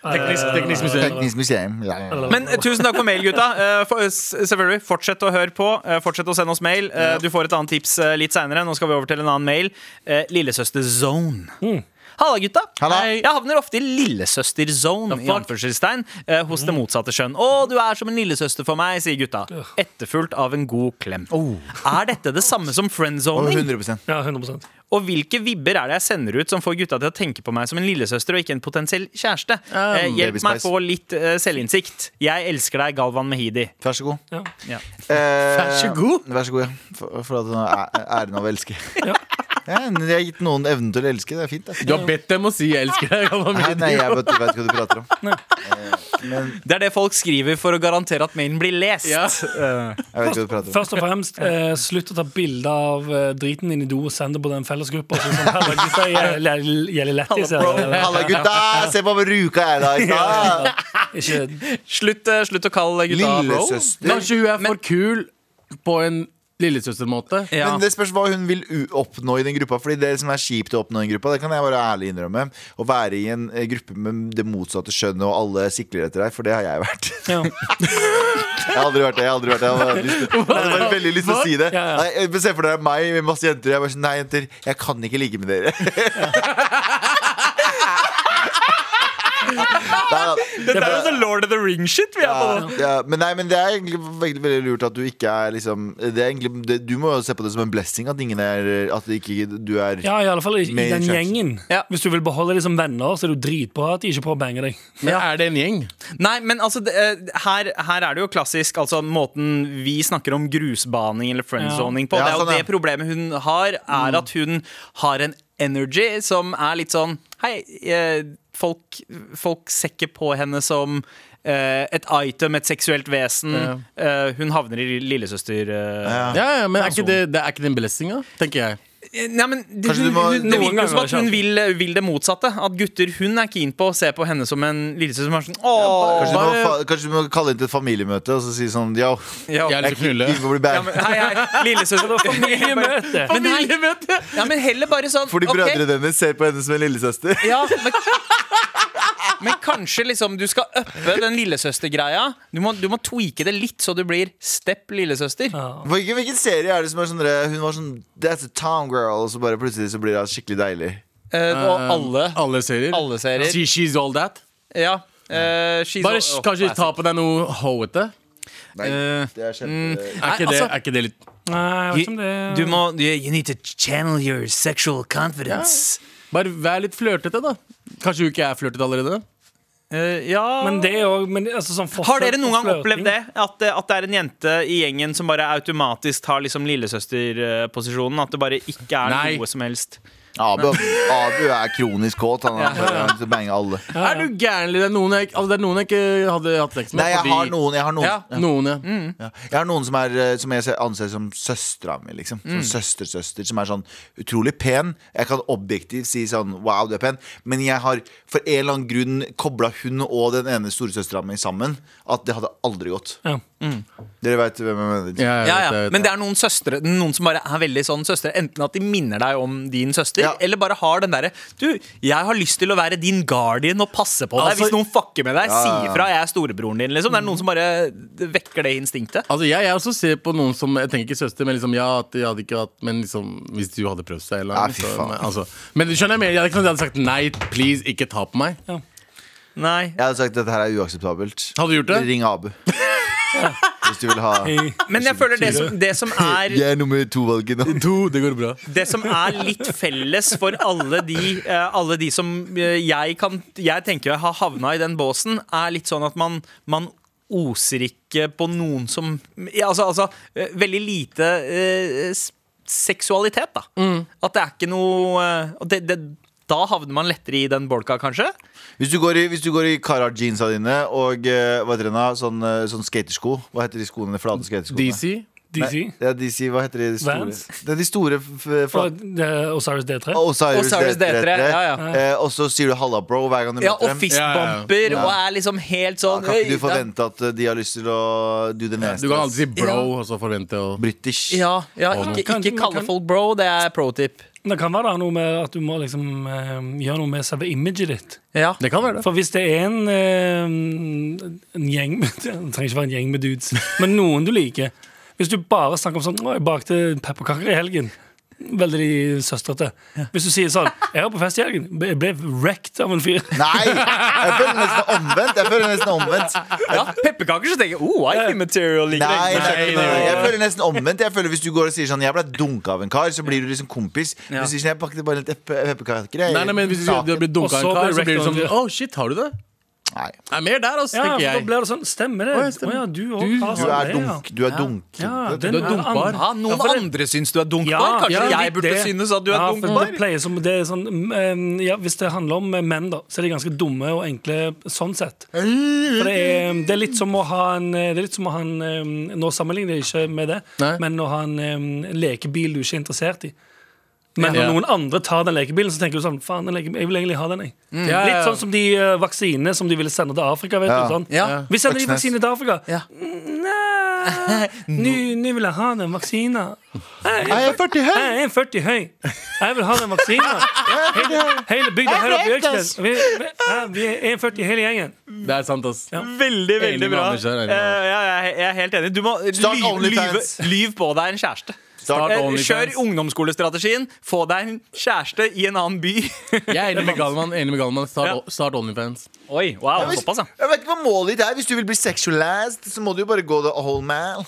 Teknisk, teknisk museum. Teknisk museum. Ja, ja, ja. Men eh, tusen takk for mail, gutta. Eh, for, eh, s- selvfølgelig, Fortsett å høre på. Eh, fortsett å sende oss mail. Eh, du får et annet tips eh, litt seinere. Nå skal vi over til en annen mail. Eh, Lillesøster Zone. Halla, gutta. Halla. Hei. Jeg havner ofte i lillesøster-zone i anførselstegn, eh, hos det motsatte kjønn. Å, du er som en lillesøster for meg, sier gutta. Etterfulgt av en god klem. Er dette det samme som Og friendzoning? 100 Ja, 100 Og hvilke vibber er det jeg sender ut som får gutta til å tenke på meg som en lillesøster og ikke en potensiell kjæreste? eh, hjelp Baby meg Spice. få litt eh, selvinnsikt. Jeg elsker deg, Galvan Mehidi. Vær så god. Ja. Ja. Eh, Vær så god. Vær så god, ja. For, for at du har æ- æren av å elske. Ja, men jeg har gitt noen evnen til å elske. Det er fint, det. Du har bedt dem å si 'jeg elsker deg'. Galvan Nei, Mehidi. nei, jeg vet, vet hva du prater om. Eh, Det er det folk skriver for å garantere at mailen blir lest. Ja. Jeg vet hva du prater om. Først og fremst, eh, slutt å ta bilder av eh, driten din i do og send det på den fellesgruppa. Så sånn, «Halla, gutta, jeg- jeg- jeg er lettis, jeg». Halla, gutta! Se på hvor ruka jeg er da. i Ah, stad. Ikke Slutt, eh, slutt å kalle gutta bro. Lillesøster. Kanskje hun er for kul på en lillesøstermåte. Ja. Men det spørs hva hun vil u- oppnå i den gruppa. Fordi det som er kjipt å oppnå i den gruppa, det kan jeg være ærlig innrømme. Å være i en eh, gruppe med det motsatte kjønnet, og alle sikler etter deg, for det har jeg vært. Ja. Jeg har aldri vært det. Jeg har aldri vært det Jeg hadde, lyst, jeg hadde bare veldig lyst til å si det. Ja, ja. Nei, jeg- men Se for dere meg med masse jenter. Jeg bare sånn, Nei, jenter, jeg kan ikke ligge med dere. Nei, da. Det er jo så Lord of the Ring-shit vi er på nå. ja, men, nei, men det er egentlig veldig, veldig lurt at du ikke er liksom det er egentlig, det, Du må jo se på det som en blessing at ingen er At det ikke, du er Ja, i alle fall i, i Med den kjæresten. gjengen. Ja. Hvis du vil beholde dem som venner, så er det jo dritbra at de ikke prøver å bange deg. Men er det en gjeng? Nei, men altså, det, eh, her, her er det jo klassisk Altså måten vi snakker om grusbaning eller friendzoning på. Ja, det er jo sånn, ja. Mm. det problemet hun har, er at hun har en energy som er litt sånn Hei, eh, folk, folk ser ikke på henne som eh, et item, et seksuelt vesen. Eh, hun havner i lillesøster... eh, Ja, ja, men er ikke det, det er ikke den blessinga, tenker jeg. Nei, men det, Kanskje du må- det, det Noen virker jo som ganger at hun skjer det. vil, vil det motsatte. At gutter hun er keen på å se på henne som en lillesøster som er sånn Åh, Kanskje du, må, fa- kanskje du må kalle inn til et familiemøte og så si sånn Yo, ja, Jeg har lyst til å knulle. vi får bli bad. ja, men, Hei, hei, lillesøster Familiemøte! Men nei, ja, men heller bare sånn Fordi ok, brødrene hennes ser på henne som en lillesøster. ja, men, men kanskje liksom du skal uppe den lillesøstergreia. Du, må- du må tweake det litt, så du blir step lillesøster. Hvilken, hvilken serie er det som er sånn der, Hun var sånn That's a town girl, og så bare plutselig så blir hun skikkelig deilig. Eh, og alle. Alle serier. Alle serier. She, she's all that. Ja. eh, she's Bare all- sh- oh, kanskje ass. ta på deg noe hoete. Nei, Eh, det er kjempe Er ikke, det, altså- er ikke det litt Nei, jeg vet ikke om det Du må you, you need to channel your sexual confidence. Bare vær litt flørtete, da. Kanskje hun ikke er flørtete allerede? Eh, ja Men det er jo men, altså, sånn Har forsøk dere noen på gang flørting. opplevd det? At, eh, at det er en jente i gjengen som bare automatisk tar liksom lillesøsterposisjonen? At det bare ikke er Nei. noe som helst? Abu, Abu er kronisk kåt. Han er han er til å bange alle. Er du gæren? eller Det er noen jeg, altså, det er noen jeg ikke hadde hatt sex med. Nei, jeg har noen. Jeg har noen, Ja, noen, ja. ja. jeg, har noen som, er, eh, som jeg ser- anser som søstera mi. Liksom. Som Mm. søstersøster. Som er sånn utrolig pen. Jeg kan objektivt si sånn wow, du er pen. Men jeg har for en eller annen grunn kobla hun og den ene storesøstera mi sammen. At det hadde aldri gått. Ja. Dere veit hvem jeg mener. Ja, jeg Ja, vet, jeg ja. vet. Men det er noen søstre Noen som bare er veldig sånn søstre. Enten at de minner deg om din søster, Ja. eller bare har den derre Du, jeg har lyst til å være din guardian og passe på deg. Altså- Hvis noen fucker med deg, Ja, si ja, ja. ifra. Jeg er storebroren din, liksom. Det er noen som bare vekker det instinktet. Altså, jeg, jeg også ser på noen som Jeg tenker ikke søster, men liksom, ja, at jeg hadde ikke hatt Men liksom, hvis du hadde prøvd seg eller Ja, noe, fy så- faen. men, altså, men du skjønner jeg mer, jeg hadde, ikke sant, jeg hadde sagt nei, please, ikke ta på meg Nei. Jeg hadde sagt dette her er uakseptabelt. Hadde du gjort det? Ring Abu. Hvis du vil ha Men jeg føler det som, det som er Jeg er nummer to-valget nå. To, det går bra det som er litt felles for alle de, eh, alle de som eh, jeg, kan, jeg tenker jeg har havna i den båsen, er litt sånn at man, man oser ikke på noen som ja, altså, altså, eh, veldig lite eh, s- seksualitet, da. Mm. At det er ikke noe eh, og det, det, Da havner man lettere i den bolka, kanskje. Hvis du går i, hvis du går i Karar-jeansa dine og eh, hva heter det nå? Sånn, eh, sånn skatersko Hva heter de skoene? Flate skateskoene? DC DC. Ja, DC, hva heter de store? Vans? Det er de store f- f- Og flate det- Osiris D3. Osiris Osiris D3. D3, ja, ja. Eh, og så sier du 'halla, bro' hver gang du Ja, møter og dem. fistbumper og er liksom helt Ja, sånn kan ikke «Øy, du da- forvente at eh, de har lyst til å do the Du nasty? kan ass? alltid si bro, og så forvente å British. Ja, ja Å, ikke, man kan- ikke man kalle kan- folk bro, det er pro tip. Det kan være det er noe med at du må liksom eh, gjøre noe med selve imaget ditt. Ja. Det kan være det For hvis det er en, eh, en gjeng med, Det trenger ikke være en gjeng med dudes, men noen du liker Hvis du bare snakker om sånn Å, jeg bakte pepperkaker i helgen. Veldig søstrete. Hvis du sier sånn Jeg var på fest i helgen. ble- Jeg ble wrecked av en fyr. Nei! Jeg føler nesten omvendt. Jeg føler nesten omvendt Ja, pepperkaker, så tenker jeg oh, wifi material ligger Nei, der. jeg, nei, nei. jeg føler nesten omvendt. Jeg føler Hvis du går og sier sånn 'jeg ble dunka av en kar', så blir du liksom kompis. Ja. Du sier sånn 'jeg pakket bare litt eppe- pepperkaker'. jeg». Nei, nei, men hvis du, Naken. du blir dunket av Og så en kar, blir så blir det rektoren- sånn Åh, shit, har du det? Nei. Nei, mer der, altså, Ja, for tenker da jeg blir det sånn. Stemmer det? Å, Å ja, stemmer. ja, du òg Du- har Du sånn er det, dunk. Du er dunk. Ja, ja Det- den Du er er dunkbar. an- Ja, noen for det- andre syns du er dunkbar. Kanskje ja, jeg burde det- synes at du er ja, for dunkbar. Det pleier som, det er sånn, mm, ja, hvis det handler om menn, da, så er de ganske dumme og enkle sånn sett. For det er, det er litt som å ha en, det er litt som å ha en mm, Nå sammenligner jeg ikke med det, Nei. men å ha en mm, lekebil du ikke er interessert i. Men Ja. når noen andre tar den lekebilen, så tenker du sånn Faen, den leke- jeg vil egentlig ha den, jeg. Ja, ja, Litt ja. sånn som de eh, vaksinene som de ville sende til Afrika. Vet Ja. du, sånn. Ja. Vi sender de Øksnes. vaksinene til Afrika. Mm, Ja. Nei, nå vil jeg ha den vaksina. Nei, Jeg er 40 høy! Jeg er 40 høy. Jeg vil ha den vaksina. Hele bygda her oppe i Øksnes. Vi, vi, ja, vi er 41 hele gjengen. Det er sant, ass Veldig, Enig med Anders her, enig med Eh, ja, jeg, jeg er helt enig. Du må Start lyve, lyve, OnlyFans. lyve på deg en kjæreste. Start Eh, OnlyFans. Kjør ungdomsskolestrategien. Få deg en kjæreste i en annen by. Jeg er enig med Galvan. Enig med Galvan. Start, Ja. start OnlyFans. Oi, wow, hvis, såpass, ja. jeg vet ikke hva målet ditt er. Hvis du vil bli sexualized, så må du jo bare gå the whole man.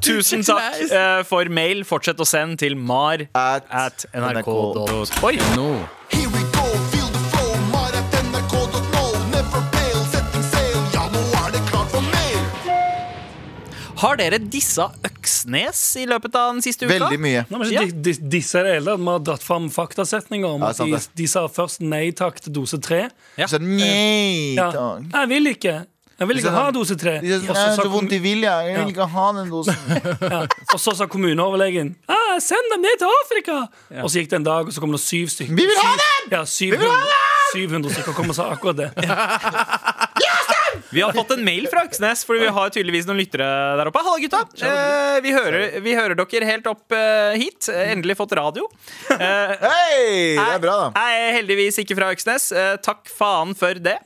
Tusen takk eh, for mail. Fortsett å sende til mar At at nrk. NRK. Oi! No. Here we go, feel the flow, mar at nrk.no. Never fail, setting sail, ja, nå er det klart for mer. Har dere dissa Øksnes i løpet av den siste uka? Veldig mye. Nei, men Ja. ikke de- de- Disse er det hele. Vi har dratt fram faktasetninger om Ja, at sant de, det. de sa først nei takk til dose tre. Ja. Så nei Ja. takk. Jeg vil ikke. Jeg vil De sa ikke ha sånn- dose tre. De sier sånn, Og «Nei, så sa så vondt i kommu- vilja. Jeg vil Ja. ikke ha den dosen. og så sa kommuneoverlegen ah, send dem ned til Afrika! Og så gikk det en dag, og så kom det syv stykker. Vi vil ha Syv- Ja, 700, 700 stykker kom og sa akkurat det. Vi har fått en mail fra Øksnes, for vi har tydeligvis noen lyttere der oppe. Halla, gutta! Eh, vi, hører, vi hører dere helt opp eh, hit. Eh, Endelig fått radio. Eh, Hei! Det er bra, da. Jeg er heldigvis ikke fra Øksnes. Eh, takk faen for det.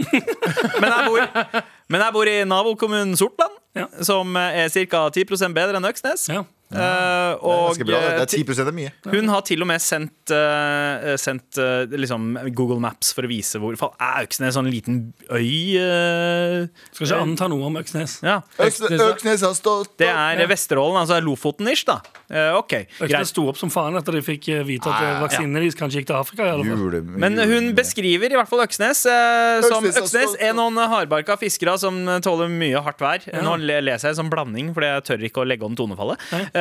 Men jeg bor, men jeg bor i nabokommunen Sortland, Ja. som eh, er ca. 10 bedre enn Øksnes. Ja. Eh, Det er og ganske bra. Det eh, Det er 10 er mye. hun har til og med sendt, eh, sendt eh, liksom Google Maps for å vise hvor faen, Er Øksnes en sånn liten øy? eh? Skal ikke anta noe om Øksnes. ja. Øksnes, Øksnes har stått Det er Vesterålen, altså Lofoten-ish, da. Eh, OK, Øksnes greit. sto opp som faen etter de fikk eh, vite Ah, at eh, vaksinene deres kanskje gikk til Afrika. I alle fall. Jule- Men hun beskriver i hvert fall Øksnes eh, som Øksnes, altså. Øksnes er noen hardbarka fiskere som tåler mye hardt vær. Nå le- leser jeg som blanding, fordi jeg tør ikke å legge om tonefallet. Eh,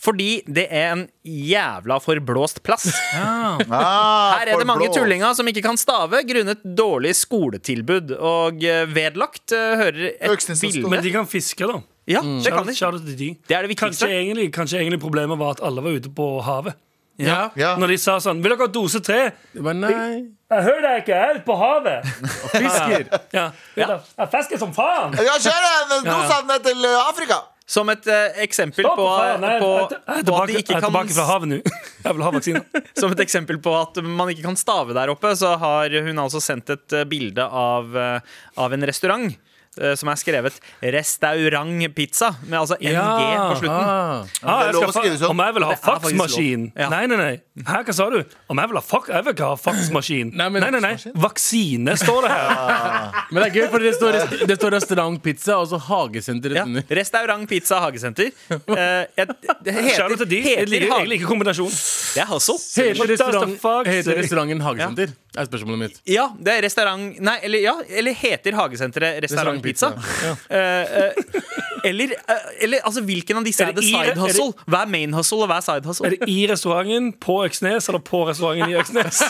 fordi det er en jævla forblåst plass. Ah, Her er det mange forblåst. tullinger som ikke kan stave grunnet dårlig skoletilbud. Og eh, vedlagt eh, hører et Øksnes, altså. bilde Men de kan fiske, da. Ja, det kan de. Shout out til de. Det er det Mm. Kanskje viktigste. egentlig, kanskje egentlig problemet var at alle var ute på havet. Ja. Ja. Når de sa sånn 'Vil dere ha dose tre?' Det var nei. Jeg hører deg ikke, jeg er ute på havet. Fisker. Ja. Jeg fisker som faen. Ja, kjør den! Dosen er til eh, Afrika! Som et eh, eksempel på, på, jeg er på at tilbake, de jeg ikke er tilbake fra kan havet nå. Jeg vil ha vaksine. Som et eksempel på at man ikke kan stave der oppe, så har hun altså sendt et eh, bilde av, eh, av en restaurant. eh, Som er skrevet 'Restaurant Pizza', med altså NG Ja, på slutten. Ah, Det er jeg lov skal å skrive fa sånn. om jeg vil ha Det er faktisk faksmaskin? lov. Ja. Nei, nei, nei. Hæ, hva sa du? Om jeg vil ha, fak jeg vil ikke ha faksmaskin? Nei, Nei, men- nei, nei, Vaksine står det her. Men det er gøy, for det står, rest- det står restaurant pizza og så hagesenter Ja. rett under. Restaurant Pizza Hagesenter. Eh, jeg- Det Shout heter, out til de. Jeg heter liker, Hage- jeg liker kombinasjon. Det er hustle. Hele What does the restaurant, fuck heter say? restauranten hagesenter? Er spørsmålet mitt. Ja, det er restaurant Nei, eller, ja, eller heter hagesenteret Restaurant Restaurant Pizza? Eh, eh, eller, eh, eller altså, hvilken av disse Er er det det i- er side det- hustle? Hva er main hustle, og hva er side hustle? Er det i restauranten, på Øksnes, eller på restauranten i Øksnes?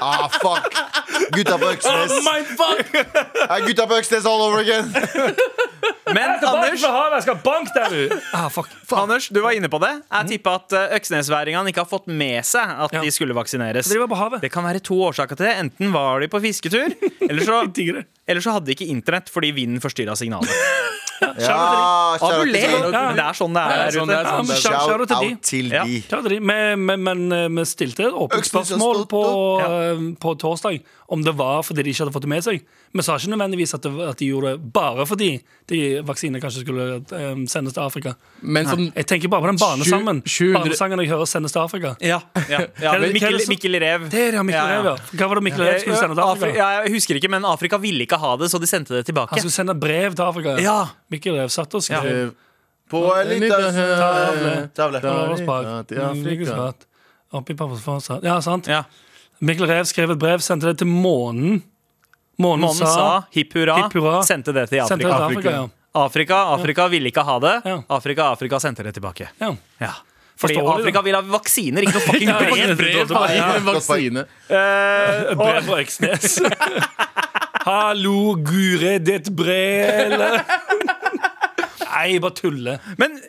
Ah, fuck! Gutta på Øksnes. Oh Eh, gutta på Øksnes all over again. Men Tilbake Anders, fra havet, jeg skal banke deg, du! Ah, fuck. Anders, du var inne på det. Jeg tippa at eh, øksnesværingene ikke har fått med seg at Ja. de skulle vaksineres. Så de var på havet. Det kan være to årsaker til det. Enten var de på fisketur, eller så, digger det. eller så hadde de ikke internett fordi vinden forstyrra signalet. Ja, shout out til Abuler! de. Det er sånn det er Det er der sånn ute. det er. Ja, men shout- shout out Shout til de. out til Ja. de. Ja, det er de. Men- men- men eh, vi stilte et åpent Øksnes har spørsmål stått på, opp. eh, på torsdag om det var fordi de ikke hadde fått det med seg. Vi sa ikke nødvendigvis at, det, at de gjorde det bare fordi de vaksinene kanskje skulle eh, sendes til Afrika. Men som Jeg tenker bare på den barnesangen Sju- 700 Barnesangen jeg hører sendes til Afrika. Ja, ja, ja. Hva er det- hva er Mikkel, det som- Mikkel Rev. Det er det, Ja, Mikkel ja. Rev, ja. Hva var det Mikkel Rev skulle sende til Afri- Afrika? ja, jeg husker ikke, men Afrika ville ikke ha det, så de sendte det tilbake. Han skulle sende brev til Afrika. Ja. Mikkel Rev satt og skrev. eh, På en liten Tavle. tavle. Han var bak. Ja, til Afrika. Svart. Oppi pappas forsatt. Ja, sant. Ja. Mikkel Rev skrev et brev, sendte det til månen. Månen, Månen sa hipp hurra, Hipp hurra. sendte det til Sendte det Afrika. til Afrika, ja. Afrika, Afrika ville ikke ha det. Ja. Afrika, Afrika sendte det tilbake. ja. Ja. Fordi Forstår du, Afrika da? vil ha vaksiner, ikke noe fucking Ja, brev. faktisk brev, bare. Ja, en Godt vaksine. Eh, og- Brev fra Øksnes. Hallo, Gure, ditt brel. Nei, jeg bare tuller. men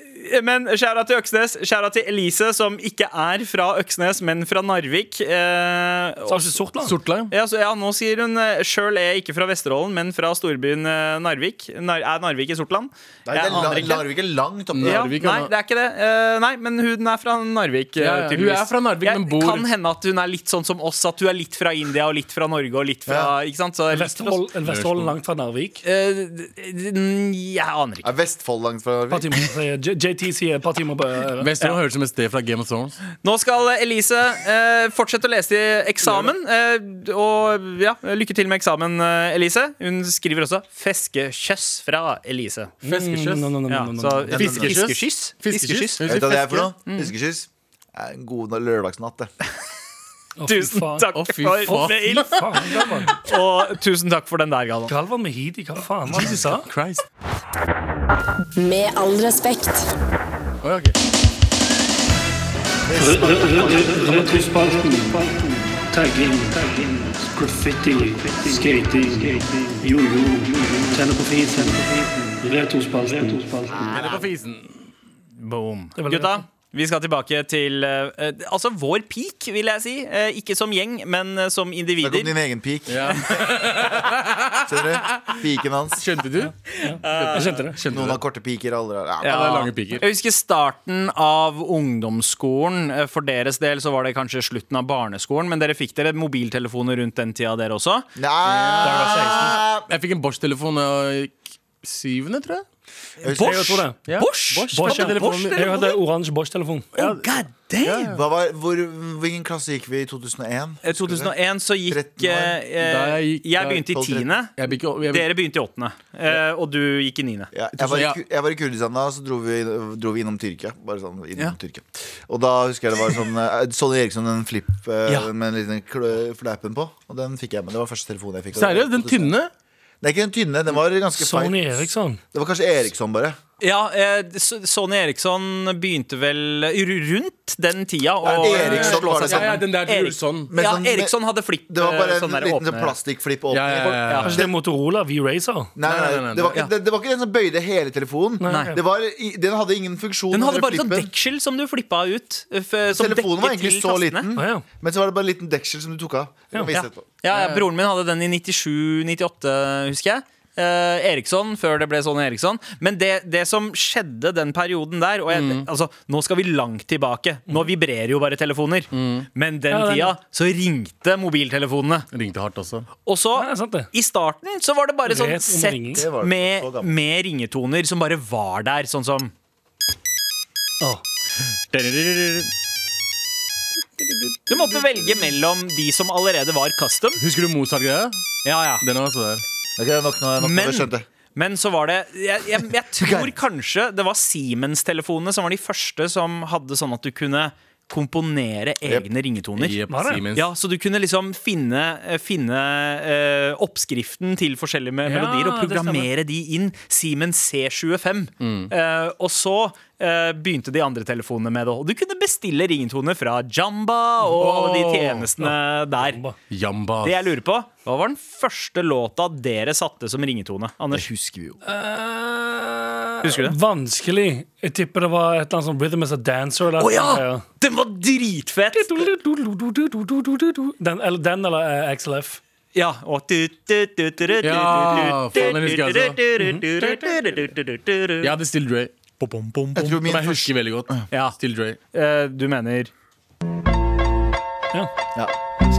men skjæra til Øksnes, skjæra til Elise, som ikke er fra Øksnes, men fra Narvik. Eh, Sa ikke Sortland? Sortland. Ja, så, ja, nå sier hun eh, Sjøl er jeg ikke fra Vesterålen, men fra storbyen eh, Narvik. Nar er Narvik i Sortland? Nei, det er Jeg aner la- ikke. Larvik er langt oppe. Ja, Narvik, nei, ja. det er ikke det. Eh, nei, men hun er fra Narvik. eh, Ja, ja, hun tydeligvis. er fra Narvik, Jeg- men bor- Kan hende at hun er litt sånn som oss, at hun er litt fra India og litt fra Norge og litt fra Ikke sant? Så, litt fra- Vesterålen Vesterålen langt fra Narvik. Eh, d- d- Jeg aner ikke. Er Vestfold langt fra Larvik? Partimannen sier eh, J- i ti sider et par timer på øret. Vesterålen høres ut som et sted fra Game of Thrones. Nå skal Elise eh, fortsette å lese i eksamen. Eh, og ja, lykke til med eksamen, eh, Elise. Hun skriver også 'feskekjøss' fra Elise. Fiskekjøss. No, no, no, no, Ja, no, no. så Mm, Fiskekjøss? fiskekjøss? Fiskekjøss? Fiskekjøss. Vet du hva det er for noe? Fiskekyss. Det er En god lørdagsnatt, det. Å, fy Tusen faen. takk Å, fy for faen. mail, Faen, Galvan. og tusen takk for den der, Galvan. Galvan med Heidi, hva faen var det du sa? Christ. Med all respekt. Å, ja, ok. Retrospalten. Tagging. Graffiti. Skating. Jojo. Tenne på fisen. Retrospalten. Eller på fisen. Boom. var Gutta, lett. vi skal tilbake til eh, eh, altså vår peak, vil jeg si. Eh, ikke som gjeng, men eh, som Da kom individer. din egen pik. Ja. Ser dere? Piken hans. Skjønte du? Jeg skjønte det. Noen har korte piker, alle har ja, Ja. det er lange piker. Jeg husker starten av ungdomsskolen. Eh, For deres del så var det kanskje slutten av barneskolen, men dere fikk dere mobiltelefoner rundt den tida, dere også. Nei Jeg fikk en Bosch-telefon da jeg gikk syvende, tror jeg. Jeg husker- Jeg tror det. Ja. Bosch? Bosch, ja. hadde telefonen. Jeg hadde oransje Bosch-telefon. Oh, god damn! Hva var, hvor, hvilken klasse gikk vi i 2001? Eh, 2001 så gikk 13 år. eh, Da eh, jeg gikk- Jeg da- begynte i 12-13. tiende. Jeg fikk, ikke- jeg fikk, Dere begynte i åttende. eh, Og du gikk i niende. Ja, jeg, var i, Ja. Ku- jeg var i Kurdistan da, så dro vi, dro vi innom Tyrkia. Bare sånn innom Ja. Tyrkia Og da husker jeg det var sånn eh, Sonny Eriksson, en flip eh, Ja. med en liten klø- flappen på. Og den fikk jeg med. Det var første telefonen jeg fikk. og det var Seriøst, den 2000. tynne? Det er ikke den tynne, den var ganske feil. Sony Eriksson. Det var kanskje Eriksson, bare. Ja, eh, S- Sonny Eriksson begynte vel r- rundt den tida. Og Ja, Eriksson slå var seg det Ja, sammen. ja, den der du Erik- gjorde sånn. Men ja, sånn- Eriksson hadde flipp. Det var bare eh, en sånn der liten sånn åpne- plastikkflipp Ja, åpning. ja, ja, ja. Kanskje det er Motorola V-Racer? Nei, nei, nei, nei, Det, var nei. ikke, det, det var ikke den som bøyde hele telefonen. Nei. Det var, i- den hadde ingen funksjon. Den hadde den bare sånn flippen. deksel som du flippa ut. eh, f- Som Telefonen var dekket egentlig til så tastene. liten, Å, ja. men så var det bare en liten deksel som du tok av. Jeg kan vise Ja. etterpå. Ja, ja, broren min hadde den i 97-98, husker jeg. Eh, Eriksson, før det ble sånn Eriksson. Men det, det som skjedde den perioden der og jeg, Mm. altså, Nå skal vi langt tilbake. Nå vibrerer jo bare telefoner. Mm. Men den Ja, den- tida så ringte mobiltelefonene. Ringte hardt også. Og så, Nei, det er sant det. i starten, så var det bare sånn Vet om sett ringing. Det var det, så med, gammel. med ringetoner som bare var der, sånn som Å. Du måtte velge mellom de som allerede var custom. Husker du Mozart-greia? Ja, ja. Den var så der. Ok, det er nok nå, nok nå, Men- jeg skjønte. Men så var det Jeg, jeg, jeg tror kanskje det var Siemens-telefonene som var de første som hadde sånn at du kunne komponere egne ringetoner. Jepp, Var det? Siemens. Ja, Så du kunne liksom finne, eh, finne eh, oppskriften til forskjellige me Ja, melodier og det programmere de inn. Siemens C25. Eh, og så eh, begynte de andre telefonene med det. Og du kunne bestille ringetoner fra Jamba og alle de Åh. tjenestene der. Jamba. Jamba. Det jeg lurer på, Hva var den første låta dere satte som ringetone? Anders? Husker vi jo. Eh, Husker du det? Vanskelig. Jeg tipper det var et eller annet sånn Rhythm as a Dancer. Eller Å ja! noe. Den var dritfett! Den, eller, den eller eh, XLF. Ja, og du, du, du, du, du, Ja, du, faen, du, den husker jeg også. du, du, du, du. Jeg hadde Still Dre. Jeg tror Som min jeg første husker veldig godt. Ja. Still Dre. Eh, Du mener Ja. ja.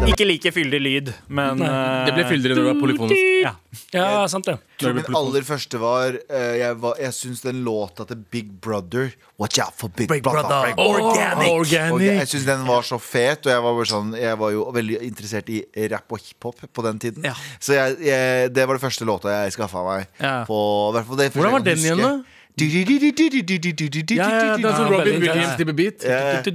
Ikke like fyldig lyd, men eh, Det ble fyldigere når det var polyfonisk. Ja. ja, sant det. Jeg tror min aller første var eh, Jeg, var- jeg syns den låta til Big Brother Watch out for Big, Brother. Big Brother. Organic. Og jeg- jeg syns den var så fet, og jeg var, bare sånn, jeg var jo veldig interessert i rapp og hiphop på den tiden. Ja. Så jeg, jeg, det var det første låta jeg skaffa meg. Ja. På, i hvert fall det første Hvordan var jeg kan den igjen, huske. da? Ja, ja, det er sånn Ja, Robin veldig. Williams type beat. Ja, ja.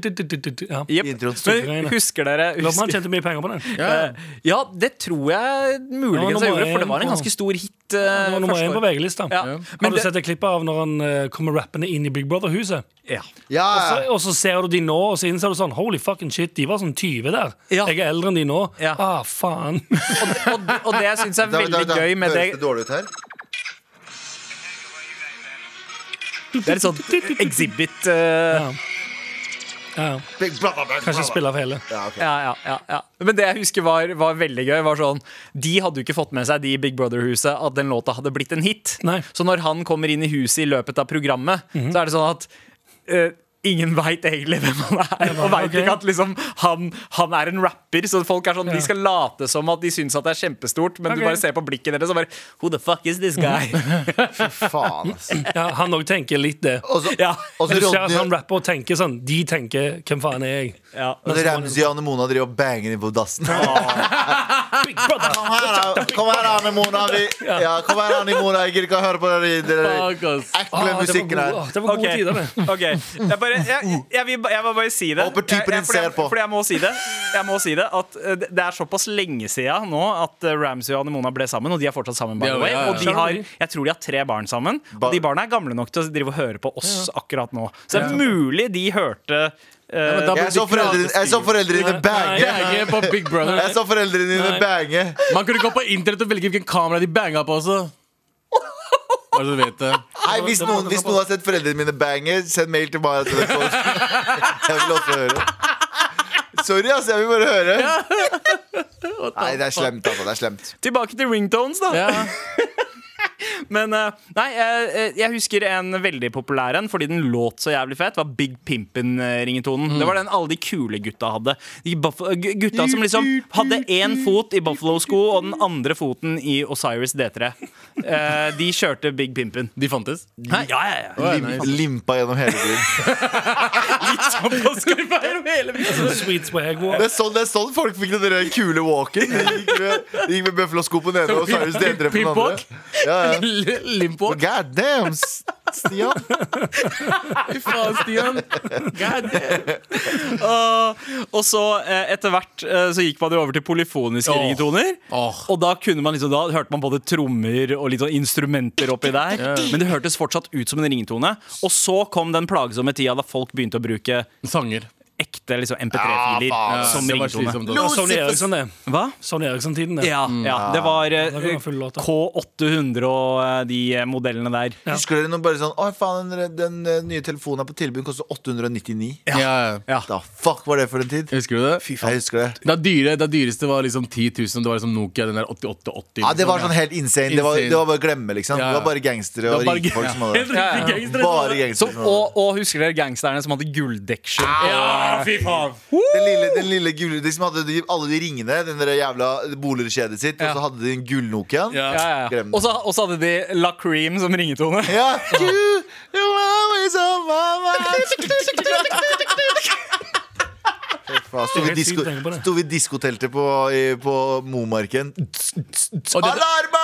Ja. Jep. Introen. Men husker dere Lomman husker, tjente mye penger på den. Ja. eh, Ja, det tror jeg muligens Ja, jeg nummer gjorde, for det én var en på- ganske stor hit. Han eh, var nummer første én på år. VG-lista. Ja. Har Men du det- sett et klipp av når han eh, kommer rappende inn i Big Brother-huset? Ja. Og Ja, så- Ah. Og så ser du de nå, og så innser du sånn Holy fucking shit, de var sånn 20 der. Ja. Jeg er eldre enn de nå. Ja. Ah, faen. Og, og, og det jeg syns er Da- da- veldig da- gøy med det Høres det dårlig ut her? Det er et sånt exhibit eh, Ja. Big Brother, Big Kanskje Brother. spille av hele. Ja, ok. ja, ja, ja, ja. Men det jeg husker var, var veldig gøy, var sånn De hadde jo ikke fått med seg, de i Big Brother-huset, at den låta hadde blitt en hit. Nei. Så når han kommer inn i huset i løpet av programmet, så er det sånn at eh, Ingen veit egentlig hvem han er. Og veit ok. ikke at liksom, han, han er en rapper. Så folk er sånn, Ja. de skal late som at de syns at det er kjempestort, men Ok. du bare ser på blikket deres og bare Who the fuck is this guy? Faen, ass. Ja, han òg tenker litt det. Og så- ja. og Du så ser at han Rodney rapper og tenker sånn. De tenker 'Hvem faen er jeg?' ja. og så Ramsey og Anne Mona driver og banger inn på dassen. Big brother! Kom her, da, kom her, Anne Mona. Vi, ja, kom her, Anne Mona. Jeg gidder ikke å høre på den der Fuck, ass. ekle Ah, det var musikken gode, her. ah, det var gode Ok. tider, det. Ok, jeg, bare, jeg, jeg, vil, ba- jeg må bare si det Håper typen jeg, jeg, din fordi jeg, ser på. Fordi jeg må si det Jeg må si det At eh, det det er såpass lenge siden nå At eh, Ramsey og Anne Mona ble sammen Og de er fortsatt sammen by Ja, the way ja, ja. Og de har, jeg tror de har tre barn sammen Ba- Og de barna er gamle nok til å drive og høre på oss akkurat nå Så det er mulig de hørte eh, men da- Jeg så foreldrene jeg så foreldrene dine bange. Bange på Big Brother. Jeg så foreldrene dine bange. Man kunne gå på internett og velge hvilken kamera de banga på også. Bare så du vet det. Nei, hvis noen, hvis noen har sett foreldrene mine bange, send mail til meg. Jeg vil også høre. Sorry, ass. Jeg vil bare høre. Nei, det er slemt, altså. Det er slemt. Tilbake til ringtones da Ja. Men eh, nei, eh, eh, jeg husker en veldig populær en Fordi den låt så jævlig fett Var Big Pimpin-ringetonen Det var den alle de kule gutta hadde de buff- gu- Gutta som liksom hadde en fot i Buffalo-sko Og den andre foten i Osiris D3 Eh, De kjørte Big Pimpin De fantes. Hæ? Ja, ja, ja Å, ja, Lim, nice. limpa gjennom hele tiden. Sånn Sweet swag walk. Det er sånn, det er sånn folk fikk den der kule walken. De gikk med, de gikk med bøffelosko på den ene og Cyrus Dedre på den Pimp-walk? andre. Ja, ja. Limpo. God damn, S- Stian. Fy faen, Stian. God damn. Og, og så eh, etter hvert eh, så gikk man jo over til polyfoniske Åh. ringetoner. Åh. Og da, kunne man liksom, da hørte man både trommer og litt sånn instrumenter oppi der. Men det hørtes fortsatt ut som en ringetone. Og så kom den plagsomme tida da folk begynte å bruke Sanger. ekte liksom, MP3-filer Ja, som det var ringetone. slitsomt da. Det var Sony sånn. Eriksson, det. Hva? Sony Eriksson-tiden, det. Ja, ja, det var eh, da kan man fulle låter. K800 og eh, de eh, modellene der. Husker dere noe bare sånn Å, faen, den, den eh, nye telefonen er på tilbud. Den koster 899. Ja. ja. Da fuck var det for en tid? Husker du det? Jeg husker det. Da, dyre, da dyreste var liksom 10 000. Det var liksom Nokia, den der liksom. 8880. Ja, Det var sånn helt insane. Det var, Insane. det var bare å glemme, liksom. Ja, ja. Det var bare gangstere og Det var bare rike folk ga- som hadde det. Ja, ja. Bare gangstere. Som, som hadde det. og, og husker dere gangsterne som hadde gulldeksel? Ah, Ja, fy faen. Den lille, den lille gule, de som hadde de, alle de ringene, den der jævla boligkjedet sitt, og så hadde de en gull-Nokiaen. Ja. Ja, ja, ja. Glem det. Og så og så hadde de La Cream som ringetone. Ja. You, you're always on my mind. Faen, Sto vi i Helt sykt disko, å tenke på det. sto vi i diskoteltet på, i- på Momarken. Og det- Alarma!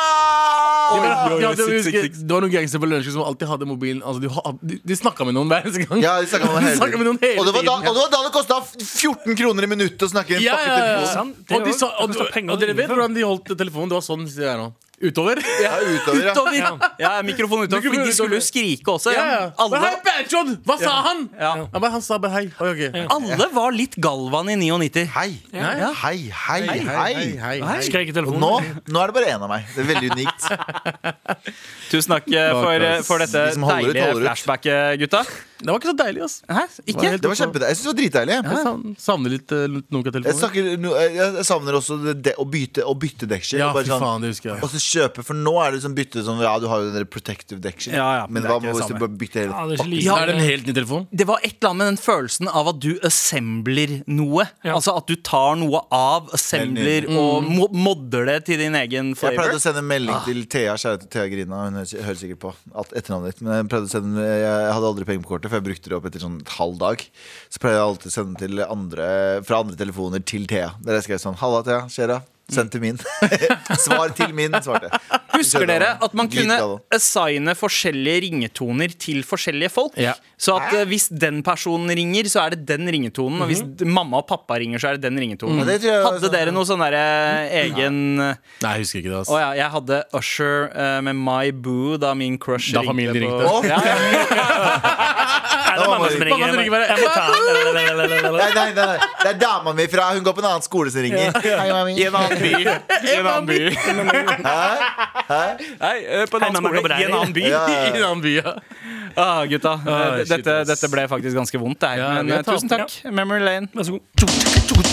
Ja, ja, det, Six, husker, six, six. det var noen gangstere på lunsjen som alltid hadde mobilen altså, De, ha- de, de snakka med noen hver eneste gang. Ja, de snakket med noen hele snakket med noen tiden. hele Og det var da, tiden. og det, var da det kosta 14 kroner i minuttet å snakke i en Ja, fucking ja, ja. telefon. sant? Det Og, de var- sa, og, det kostet penger og dere å vet drive. hvordan de holdt telefonen? Det var sånn sier jeg nå. Utover. Ja, utover, ja. utover. Ja. mikrofonen utover. Fordi de skulle jo skrike også. Ja, Ja. ja. Alle, Men hei, Bertrand! Hva sa han? ja. Han, bare, han sa bare hei. Oi, ok. alle var litt Galvan i 99. Hei, Ja. hei, hei, hei. Skrek i Og telefonen. nå, nå er det bare én av meg. Det er veldig unikt. Tusen takk eh, for, eh, for dette De som holder ut, deilige holder ut. flashbacket, gutta. Det var ikke så deilig, ass. Hæ? Ikke? Det var kjempedeilig. Jeg syns det var dritdeilig. jeg. Jeg savn- savner litt uh, Jeg, Nokia-telefonen. snakker, no- jeg jeg savner også det, det, å bytte, å bytte deksel. Ja, og bare fy sånn- faen, det husker jeg. Og så kjøpe, for nå er det sånn bytte sånn Ja, du har jo den der protective deksel, Ja, ja, men men det er hva ikke det med hvis du samme. bare bytter Ja, hele det er ikke like- Ja. Er det en helt ny telefon? Det var et eller annet med den følelsen av at du assembler noe. Ja. Altså at du tar noe av, assembler Helt og mo modder det til din egen Jeg flavor. pleide å sende en Ah. melding til Thea, kjære til Thea Grina. Hun hører hører sikkert på at etternavnet ditt. Men jeg pleide å sende Jeg hadde aldri penger på kortet, for jeg brukte det opp etter sånn et halv dag. Så pleide jeg alltid å sende til andre fra andre telefoner til Thea. Der jeg skrev sånn Halla, Thea. Skjer'a. Send til min. Svar til min, svarte jeg. Husker dere at man kunne Dritbra, da. assigne forskjellige ringetoner til forskjellige folk? Ja. Så at eh, hvis den personen ringer, så er det den ringetonen. Og hvis d- mamma og pappa ringer, så er det den ringetonen. Ja, det tror jeg var Hadde sånn- dere noe sånn derre egen eh, Å Nei, jeg husker ikke det, ass. ja, jeg hadde Usher eh, med My Boo da min crush Da familien på ringte. ja, ja. Er det mamma som ringer? Mamma som ringer bare, Jeg må ta Nei, den. nei, nei, nei. Det er dama mi fra Hun går på en annen skole som ringer. Hei, mami. I en annen by. I en annen by. Nei, eh, på en annen mamma, skole. kommer der. I en annen by. Ja, ja, I ja. en annen by, ja. Ah, gutta, eh, Ah, shit, dette, ass. dette ble faktisk ganske vondt, det her. Ja, Men vi eh, har tapt. tusen takk, Memory Lane. Vær så god.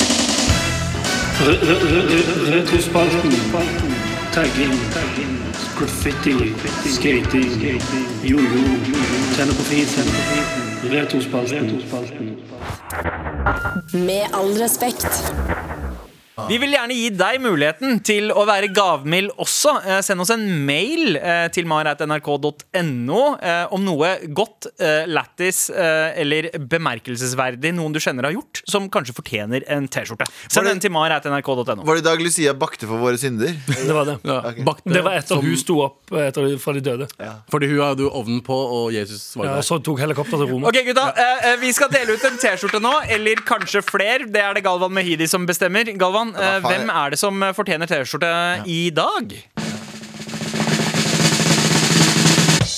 Re- re- re- re- Retrospalten. Tagging. Graffiti. Skating. Jojo. Tenne på fisen. Retrospalten. Med all respekt. Vi vil gjerne gi deg muligheten til å være gavmild også. Eh, Send oss en mail eh, til mar.nrk.no eh, om noe godt, eh, lættis eh, eller bemerkelsesverdig noen du kjenner har gjort, som kanskje fortjener en T-skjorte. Send den til mar.nrk.no. Var det i dag Lucia bakte for våre synder? Det var det. Ja, bakte, Det var etter som- hun sto opp eh, etter, fra de døde. Fordi hun hadde jo ovnen på, og Jesus var Ja, der. og så tok helikopteret til Roma. Ok, gutta. eh, eh, Vi skal dele ut en T-skjorte nå, eller kanskje fler. Det er det Galvan Mehidi som bestemmer. Galvan, eh, faen, hvem er det som eh, fortjener T-skjorte i dag?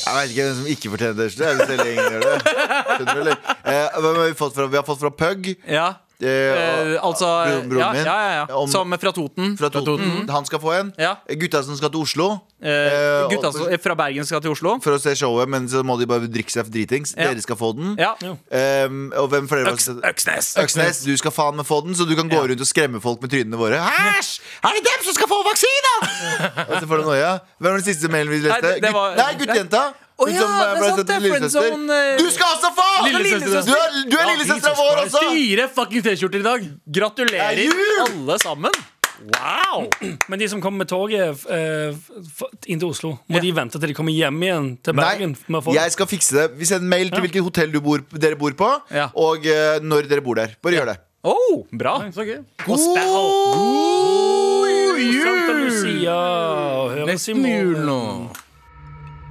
Jeg vet ikke hvem som ikke fortjener det. Jeg vil selv ingen gjør det. Skjønner du, eller? Eh, hvem har vi fått fra? Vi har fått fra Pug. Ja. Eh, Eh, altså eh, Broren- broren ja, min. ja, ja, ja. Om- Som fra Toten. Mm. fra Toten. Han skal få en. Ja. Gutta som skal til Oslo Eh, eh, gutta og- som- eh, fra Bergen skal til Oslo. for å se showet, men så må de bare drikke seg dritings. Ja. Dere skal få den. Ja. Ehm, og hvem flere Øks, Øksnes. Øksnes, du skal faen meg få den, så du kan gå rundt og skremme folk med trynene våre. Æsj! Er det dem som skal få vaksina?! og så får du noia. Hvem var den siste mailen vi leste? Nei, det- det Gutt- var- Nei, guttejenta! Å Hun ja, som, eh, det er ble sant, sendt det er til lillesøster. friendzone, eh, Du skal også få! Lillesøster. Du er, du er lillesøstera vår også! Fire fucking T-skjorter i dag! Gratulerer, Det er jul! alle sammen. Wow! Men de som kommer med toget eh, f- inn til Oslo, må Ja. de vente til de kommer hjem igjen til Bergen? med å Nei, få- jeg skal fikse det. Vi sender mail til Ja. hvilket hotell du bor, dere bor på, Ja. og eh, når dere bor der. Bare gjør det. Oh, bra. Og spe- God Santa Lucia og høres i Nesten jul morgen. nå.